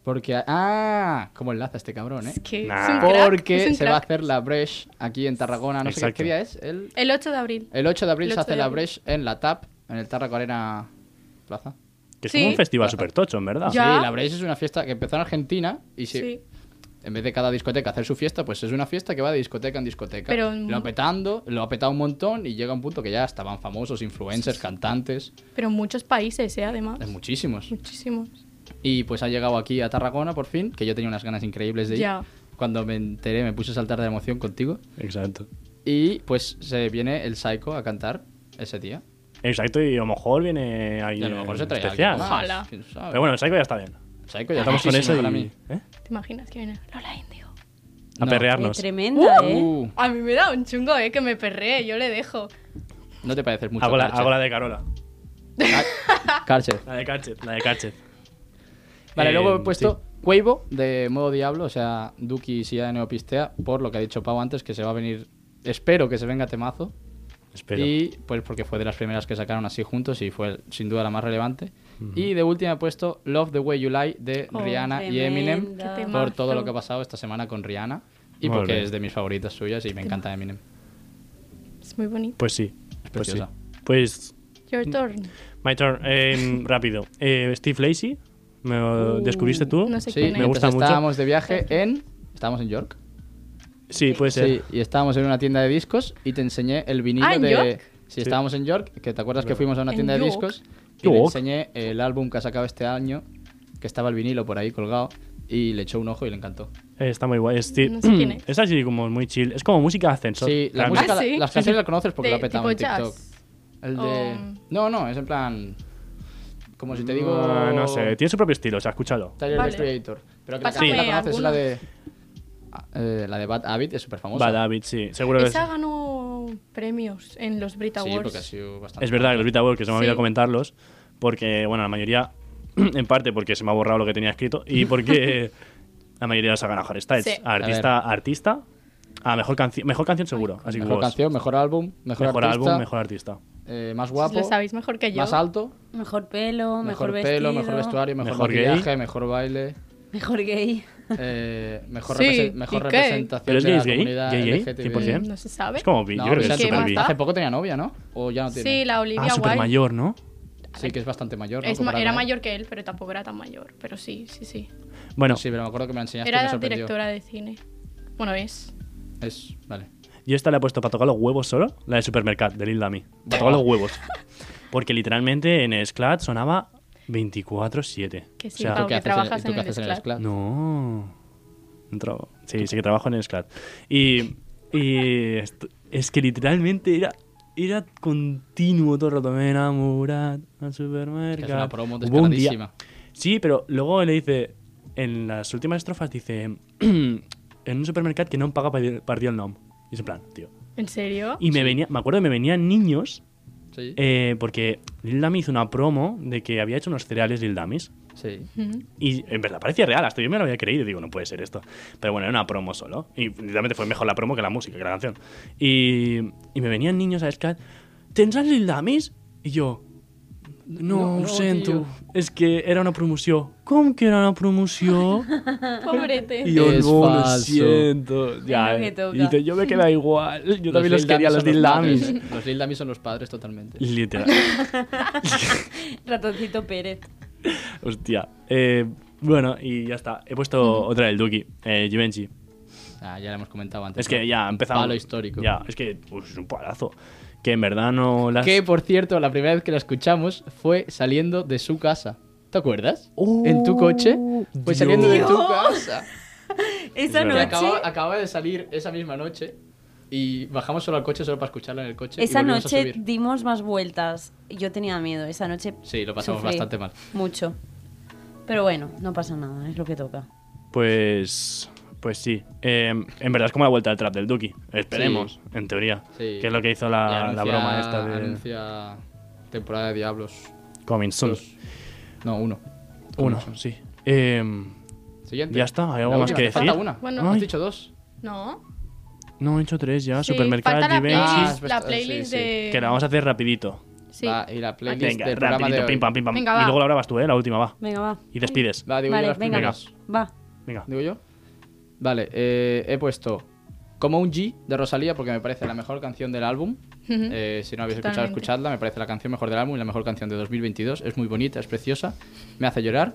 Porque. ¡Ah! ¿Cómo enlaza este cabrón, eh?
Es que
Nah.
es un crack, es
Porque
un
se va a
crack.
hacer la Bresh aquí en Tarragona. No sé qué-
Exacto.
qué día es. El,
El 8 de abril.
el 8 de abril
El
se
8
hace
de
la
abril.
Bresh en la TAP, en el Tarraco Arena Plaza.
Que es
Sí.
como un festival súper tocho, en verdad.
Ya.
Sí, la Bresh es una fiesta que empezó en Argentina y se-
Sí.
en vez de cada discoteca hacer su fiesta, pues es una fiesta que va de discoteca en discoteca.
Pero-
Lo petando, lo ha petado un montón y llega un punto que ya estaban famosos, influencers, cantantes,
Pero en muchos países, ¿eh? Además.
en muchísimos.
Muchísimos.
Y pues ha llegado aquí a Tarragona por fin, que yo tenía unas ganas increíbles de ir.
Ya.
Cuando me enteré me puse a saltar de la emoción contigo.
Exacto.
Y pues se viene el Psycho a cantar ese día.
Exacto, y a lo mejor viene
Y
alguien
a lo mejor se trae
especial.
alguien más,
Ojalá.
quién sabe.
Pero bueno, el Psycho ya está bien.
Psycho ya
Estamos con
muchísimo
eso
para mí.
y... ¿eh?
¿Te imaginas que viene Lola Indigo?
A
No.
Qué
perrearnos.
tremenda, ¿eh?
Uh,
A mí me da un chungo, ¿eh? Que me perree, yo le dejo.
no te pareces mucho.
Hago la,
Karcher.
hago la de Carola.
Ah, Karcher.
La de Karchet, la de Karchet.
Vale,
Eh,
luego he puesto Cuevo de modo diablo, o sea, Duki y Sia de Neopistea, por lo que ha dicho Pau antes, que se va a venir. Espero que se venga temazo.
Espero.
Y pues porque fue de las primeras que sacaron así juntos y fue sin duda la más relevante. Y de última he puesto Love the Way You Lie de
Oh,
Rihanna y
tremenda.
Eminem
Qué
por
temazo.
todo lo que ha pasado esta semana con Rihanna y
Muy
porque
bien.
es de mis favoritas suyas y me encanta Eminem.
Es muy bonito.
Pues sí. Pues sí.
preciosa.
Pues,
Your
Mm.
turn.
my turn. Eh, rápido. Eh, Steve Lacey, ¿me lo descubriste tú?
Uh, No sé
Sí,
quién
me
es.
gusta
mientras
mucho.
Estábamos de viaje en. Estábamos en York.
Sí, puede ser.
Sí, y estábamos en una tienda de discos y te enseñé el vinilo
Ah, ¿en
de.
York?
Sí, estábamos en York, que te acuerdas que fuimos a una
En
tienda de
York.
discos y
York.
te enseñé el álbum que ha sacado este año, que estaba el vinilo por ahí colgado, y le echó un ojo y le encantó.
Eh, está muy guay. Steve-
No sé quién es.
es así como muy chill. Es como música de ascensor.
Sí, la
Realmente.
música,
Ah, ¿sí?
las canciones las conoces porque
De-
la petamos en
tipo
TikTok.
jazz.
El de.
O-
No, no, es en plan. Como si te digo.
Ah, no sé, tiene su propio estilo, o sea, escúchalo.
Tyler
Vale.
the Creator. Pero que la
Pásame
canción que la conoces es la
alguna.
de. Ah, eh, la de Bad Habit es súper famosa.
Va, David, sí. Seguro que es.
Esa ganó premios en los Brit
Sí,
Awards.
porque ha sido bastante.
Es verdad que los Vita World, que se me ha olvidado
Sí.
comentarlos, porque, bueno, la mayoría, en parte porque se me ha borrado lo que tenía escrito y porque la mayoría las ha ganado Harry Styles.
Sí.
A Artista, a artista, a mejor, canci- mejor canción seguro. Así que
Mejor
vos,
canción, mejor álbum, mejor,
mejor
artista,
álbum, mejor artista.
eh, más
Si
guapo,
Lo sabéis mejor que yo.
más alto,
Mejor pelo, mejor,
mejor,
vestido.
pelo, mejor vestuario, mejor,
Mejor gay.
maquillaje, mejor baile,
Mejor gay.
eh, mejor,
Sí,
represe- mejor
¿y qué?
representación
¿Pero es
de
gay,
la
es gay?
comunidad
¿Gay, gay?
LGTB.
100%.
Mm, No se sabe.
Es como bi,
No,
yo creo que
pero
es
¿qué
super
más
bi.
da?
hace poco tenía novia, ¿no? O ya no tiene.
Sí, la Olivia
Ah, super
Wilde.
mayor, ¿no?
Sí, que es bastante mayor. ¿no?
Es ma-
Comparado
era
a él.
mayor que él, pero tampoco era tan mayor. Pero sí, sí, sí.
Bueno,
Sí, pero me acuerdo que me la enseñaste y me
Era
sorprendió.
directora de cine. Bueno, es.
Es, vale.
yo esta la he puesto para tocar los huevos solo, la de Supermercat, de Lil Dami. Para tocar los huevos. Porque literalmente en Sclat sonaba 24-7.
Que sí,
o sea,
Pau.
¿Tú qué haces
que
en-
trabajas
tú qué
en el
haces
Sclat.
Sclat?
No. No trabo- Sí, sí que trabajo en el Sclat. Y, y est- es que literalmente era, era continuo todo el rato. Me enamorad al
Que
supermercado.
es una promo
Hubo un día-
descaradísima.
Sí, pero luego le dice, en las últimas estrofas dice, en un supermercado que no paga partido el nom. Y es en plan, tío.
¿En serio?
Y me venía, me acuerdo que me venían niños,
Sí.
eh, porque Lil Dami hizo una promo de que había hecho unos cereales Lil Damis.
sí.
Ujú.
Y en verdad parecía real, hasta yo me lo había creído. Digo, no puede ser esto. Pero bueno, era una promo solo. Y literalmente fue mejor la promo que la música, que la canción. Y, y me venían niños a Scat. ¿Tendrás Lil Damis? Y yo. No,
No,
no,
no,
ho sento.
tio."
Es que era una promoción. ¿Cómo que era una promoción?
Pobrete.
Y yo
Es
no lo
falso.
siento. Ya,
lo que
eh.
toca.
y dice, yo me queda igual. Yo también los,
Lil
quería,
Dummies
los
son
Lil
padres.
Damis.
Los Lil Dummies son los padres totalmente.
Literal.
Ratoncito Pérez.
Hostia. Eh, bueno, y ya está. He puesto otra del Duki, eh, Givenchy.
Ah, ya lo hemos comentado antes.
Es que
¿no?
ya empezamos.
Palo histórico.
Ya, es que pues, es un palazo. Que en verdad no las.
Que por cierto, la primera vez que la escuchamos fue saliendo de su casa. ¿Te acuerdas?
Oh,
en tu coche. Fue
Dios.
saliendo de tu casa.
Esa
Es
Que
verdad.
noche.
acaba, acaba de salir esa misma noche. Y bajamos solo al coche, solo para escucharla en el coche. y
Esa
volvimos a
noche
subir.
dimos más vueltas. Yo tenía miedo. Esa noche.
Sí, lo pasamos
sufrí
bastante mal.
Mucho. Pero bueno, no pasa nada, es lo que toca.
Pues. Pues sí. Eh, en verdad es como la vuelta al trap del Duki. Esperemos, en teoría.
Sí.
Que es lo que hizo la,
Y
Ah, la
anuncia-
broma esta de
Anuncia temporada de Diablos.
Coming Soon.
dos. No, uno.
Uno, sí. Eh,
Siguiente.
Ya está, ¿hay algo
La
más
última,
que
te Falta
decir?
una.
Bueno.
Has
Ay.
dicho dos.
¿No?
no, he hecho tres ya.
Sí,
Ah, Supermercado,
falta la
Givenchy.
Ah,
playlist,
es
la
verdad,
playlist
sí, sí.
de...
Que la vamos a hacer rapidito.
Sí.
Va, y la playlist
Venga,
del programa de
rapidito,
hoy.
pim pam, pim pam.
Venga,
y
va.
luego la hora vas tú, ¿eh? La última va.
Venga, va.
Y despides.
Va, digo yo
Vale,
las
venga.
primeras.
Va.
Venga.
¿Digo yo? Vale, eh, he puesto Como un G de Rosalía porque me parece la mejor canción del álbum.
Ujú.
Eh, si no habéis escuchado,
Totalmente.
escuchadla. Me parece la canción mejor del álbum y la mejor canción de 2022. Es muy bonita, es preciosa, me hace llorar.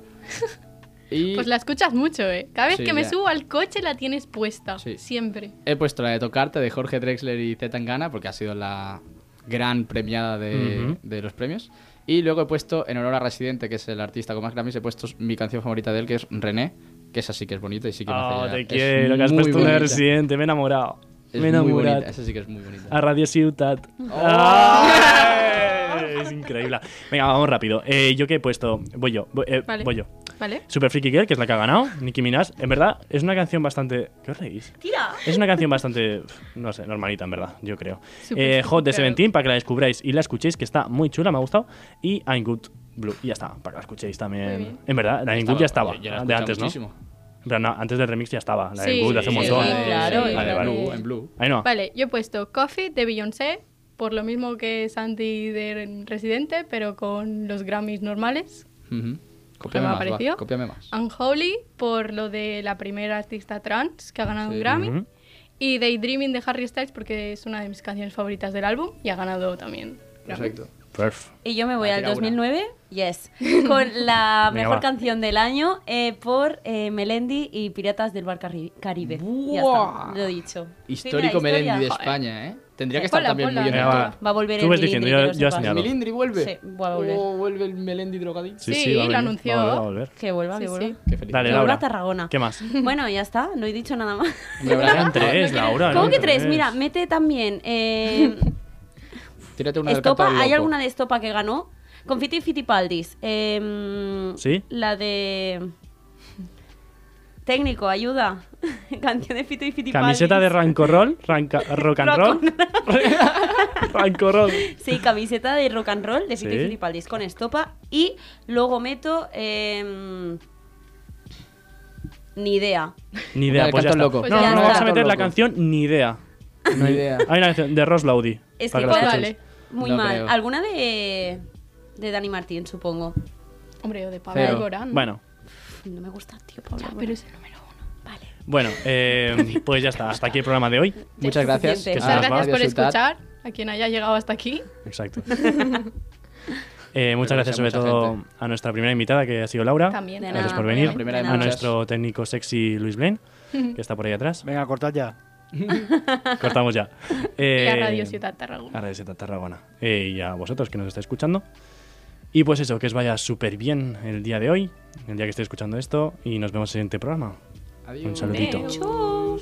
Y
Pues la escuchas mucho, ¿eh? Cada vez
Sí,
que me
ya.
subo al coche la tienes puesta.
Sí.
Siempre.
he puesto la de Tocarte de Jorge Drexler y Zetangana porque ha sido la gran premiada de,
Ujú.
de los premios. Y luego he puesto en honor a Residente, que es el artista con más Grammys, he puesto mi canción favorita de él, que es René, que esa sí que es bonita y sí que me hace
Oh,
llorar.
te
Es
quiero, que has
muy
puesto una
bonita.
residente. Me he enamorado.
Es
me he
muy bonita,
enamorado.
esa sí que es muy bonita.
A Radio Ciutat.
Oh.
¡Ay! Es increíble. Venga, vamos rápido. Eh, yo que he puesto. Voy yo. Voy, eh,
Vale.
voy yo.
¿Vale?
Super Freaky Girl, que es la que ha ganado. Nicki Minaj. En verdad, es una canción bastante. ¿Qué os reís?
Tira.
Es una canción bastante, no sé, normalita en verdad, yo creo.
Super
Eh, Hot de
Freaky Girl.
Seventeen, para que la descubráis y la escuchéis, que está muy chula, me ha gustado. Y I'm Good Blue, y ya está, para que la escuchéis
Muy
también.
bien.
En verdad, la I'm Good ya estaba, de antes, ¿no? Pero no, antes del remix ya estaba, la I'm
Sí,
Good de hace un
sí,
montón.
sí, claro,
Vale,
claro.
vale.
Blue, en Blue.
Ahí no.
Vale, yo he puesto Coffee de Beyoncé, por lo mismo que Santi de Residente, pero con los Grammys normales.
Ujú. Cópiame
me ha
más, va,
parecido.
cópiame más.
Unholy, por lo de la primera artista trans que ha ganado
Sí.
un Grammy.
Ujú.
Y Daydreaming de Harry Styles, porque es una de mis canciones favoritas del álbum y ha ganado también. Grammy.
Perfecto.
Perf.
Y yo me voy
Va,
al
Ah, tira una.
2009, yes, con la
Venga,
mejor
va.
canción del año eh, por eh, Melendi y Piratas del Bar Carri- Caribe. Ya
Buah.
está, lo he dicho.
Histórico
Fin de la historia.
Melendi de
Joder.
España, ¿eh? Tendría que
Sí,
estar
ponla,
también muy en
ponla.
el
Venga,
top.
va.
Va a volver
Tú
el
ves diciendo,
Milindri,
yo-
que lo
yo
sepas.
señalo.
Milindri vuelve.
Sí, va a volver.
Oh, vuelve el Melendi drogadicto.
Sí, sí, va
Sí,
a
lo
venir,
anunció.
Va a volver, va a volver.
Que vuelva, que
Sí,
vuelva.
sí.
Qué feliz.
Dale,
Laura
Laura.
Tarragona.
¿Qué más?
Bueno, ya está, no he dicho nada más.
Me voy a-
Eran tres, Laura.
¿Cómo
eran
que tres? Mira, mete también eh,
Tírate una del
Estopa,
Cántaro
¿hay
Loco.
alguna de Estopa que ganó? Confiti y Fitipaldis. eh,
¿Sí?
La de... Técnico, ayuda. Canción de Fito y Fitipaldis.
Camiseta de Rancorroll, ranca, Rock and Roll. Rancorroll.
Sí, camiseta de rock and roll de Fito
Sí.
y Fitipaldis con Estopa. Y luego meto... eh, ni idea.
Ni
Una
idea,
del
pues ya
Cantón
está.
Loco.
Pues
No,
ya
no
está.
vamos a meter la
Loco.
canción ni idea.
Ni idea.
Hay una canción de Ross Laudy.
eh,
Es
para
que
la
con-
escuchéis.
Vale.
Muy
No
mal.
creo.
Alguna de... De Dani Martín, supongo.
Hombre, o de Pablo
Cero.
Alborán.
Bueno,
Pff, No me gusta, tío, Pablo.
Ya,
Alborán.
pero es el número uno.
Vale.
bueno, eh, pues ya está. Hasta aquí el programa de hoy.
Muchas
es
gracias. Ah,
suficiente.
a
Muchas
Radio
gracias por
Ciutat.
escuchar, a quien haya llegado hasta aquí.
Exacto. Eh, muchas
Pero
gracias
que
sobre
sea mucha
todo
gente.
a nuestra primera invitada, que ha sido Laura.
También. De
Gracias
nada,
por
por
venir.
la
primera de
A
muchas.
nuestro técnico sexy Luis Blaine, que está por ahí atrás.
Venga, cortad ya.
Cortamos ya.
y a
Eh,
Radio Ciudad Tarragona.
a Radio Ciutat Tarragona eh, y a vosotros que nos estáis escuchando. Y pues eso, que os vaya súper bien el día de hoy, el día que estéis escuchando esto, y nos vemos en el siguiente programa.
Adiós.
Un saludito. Adeu.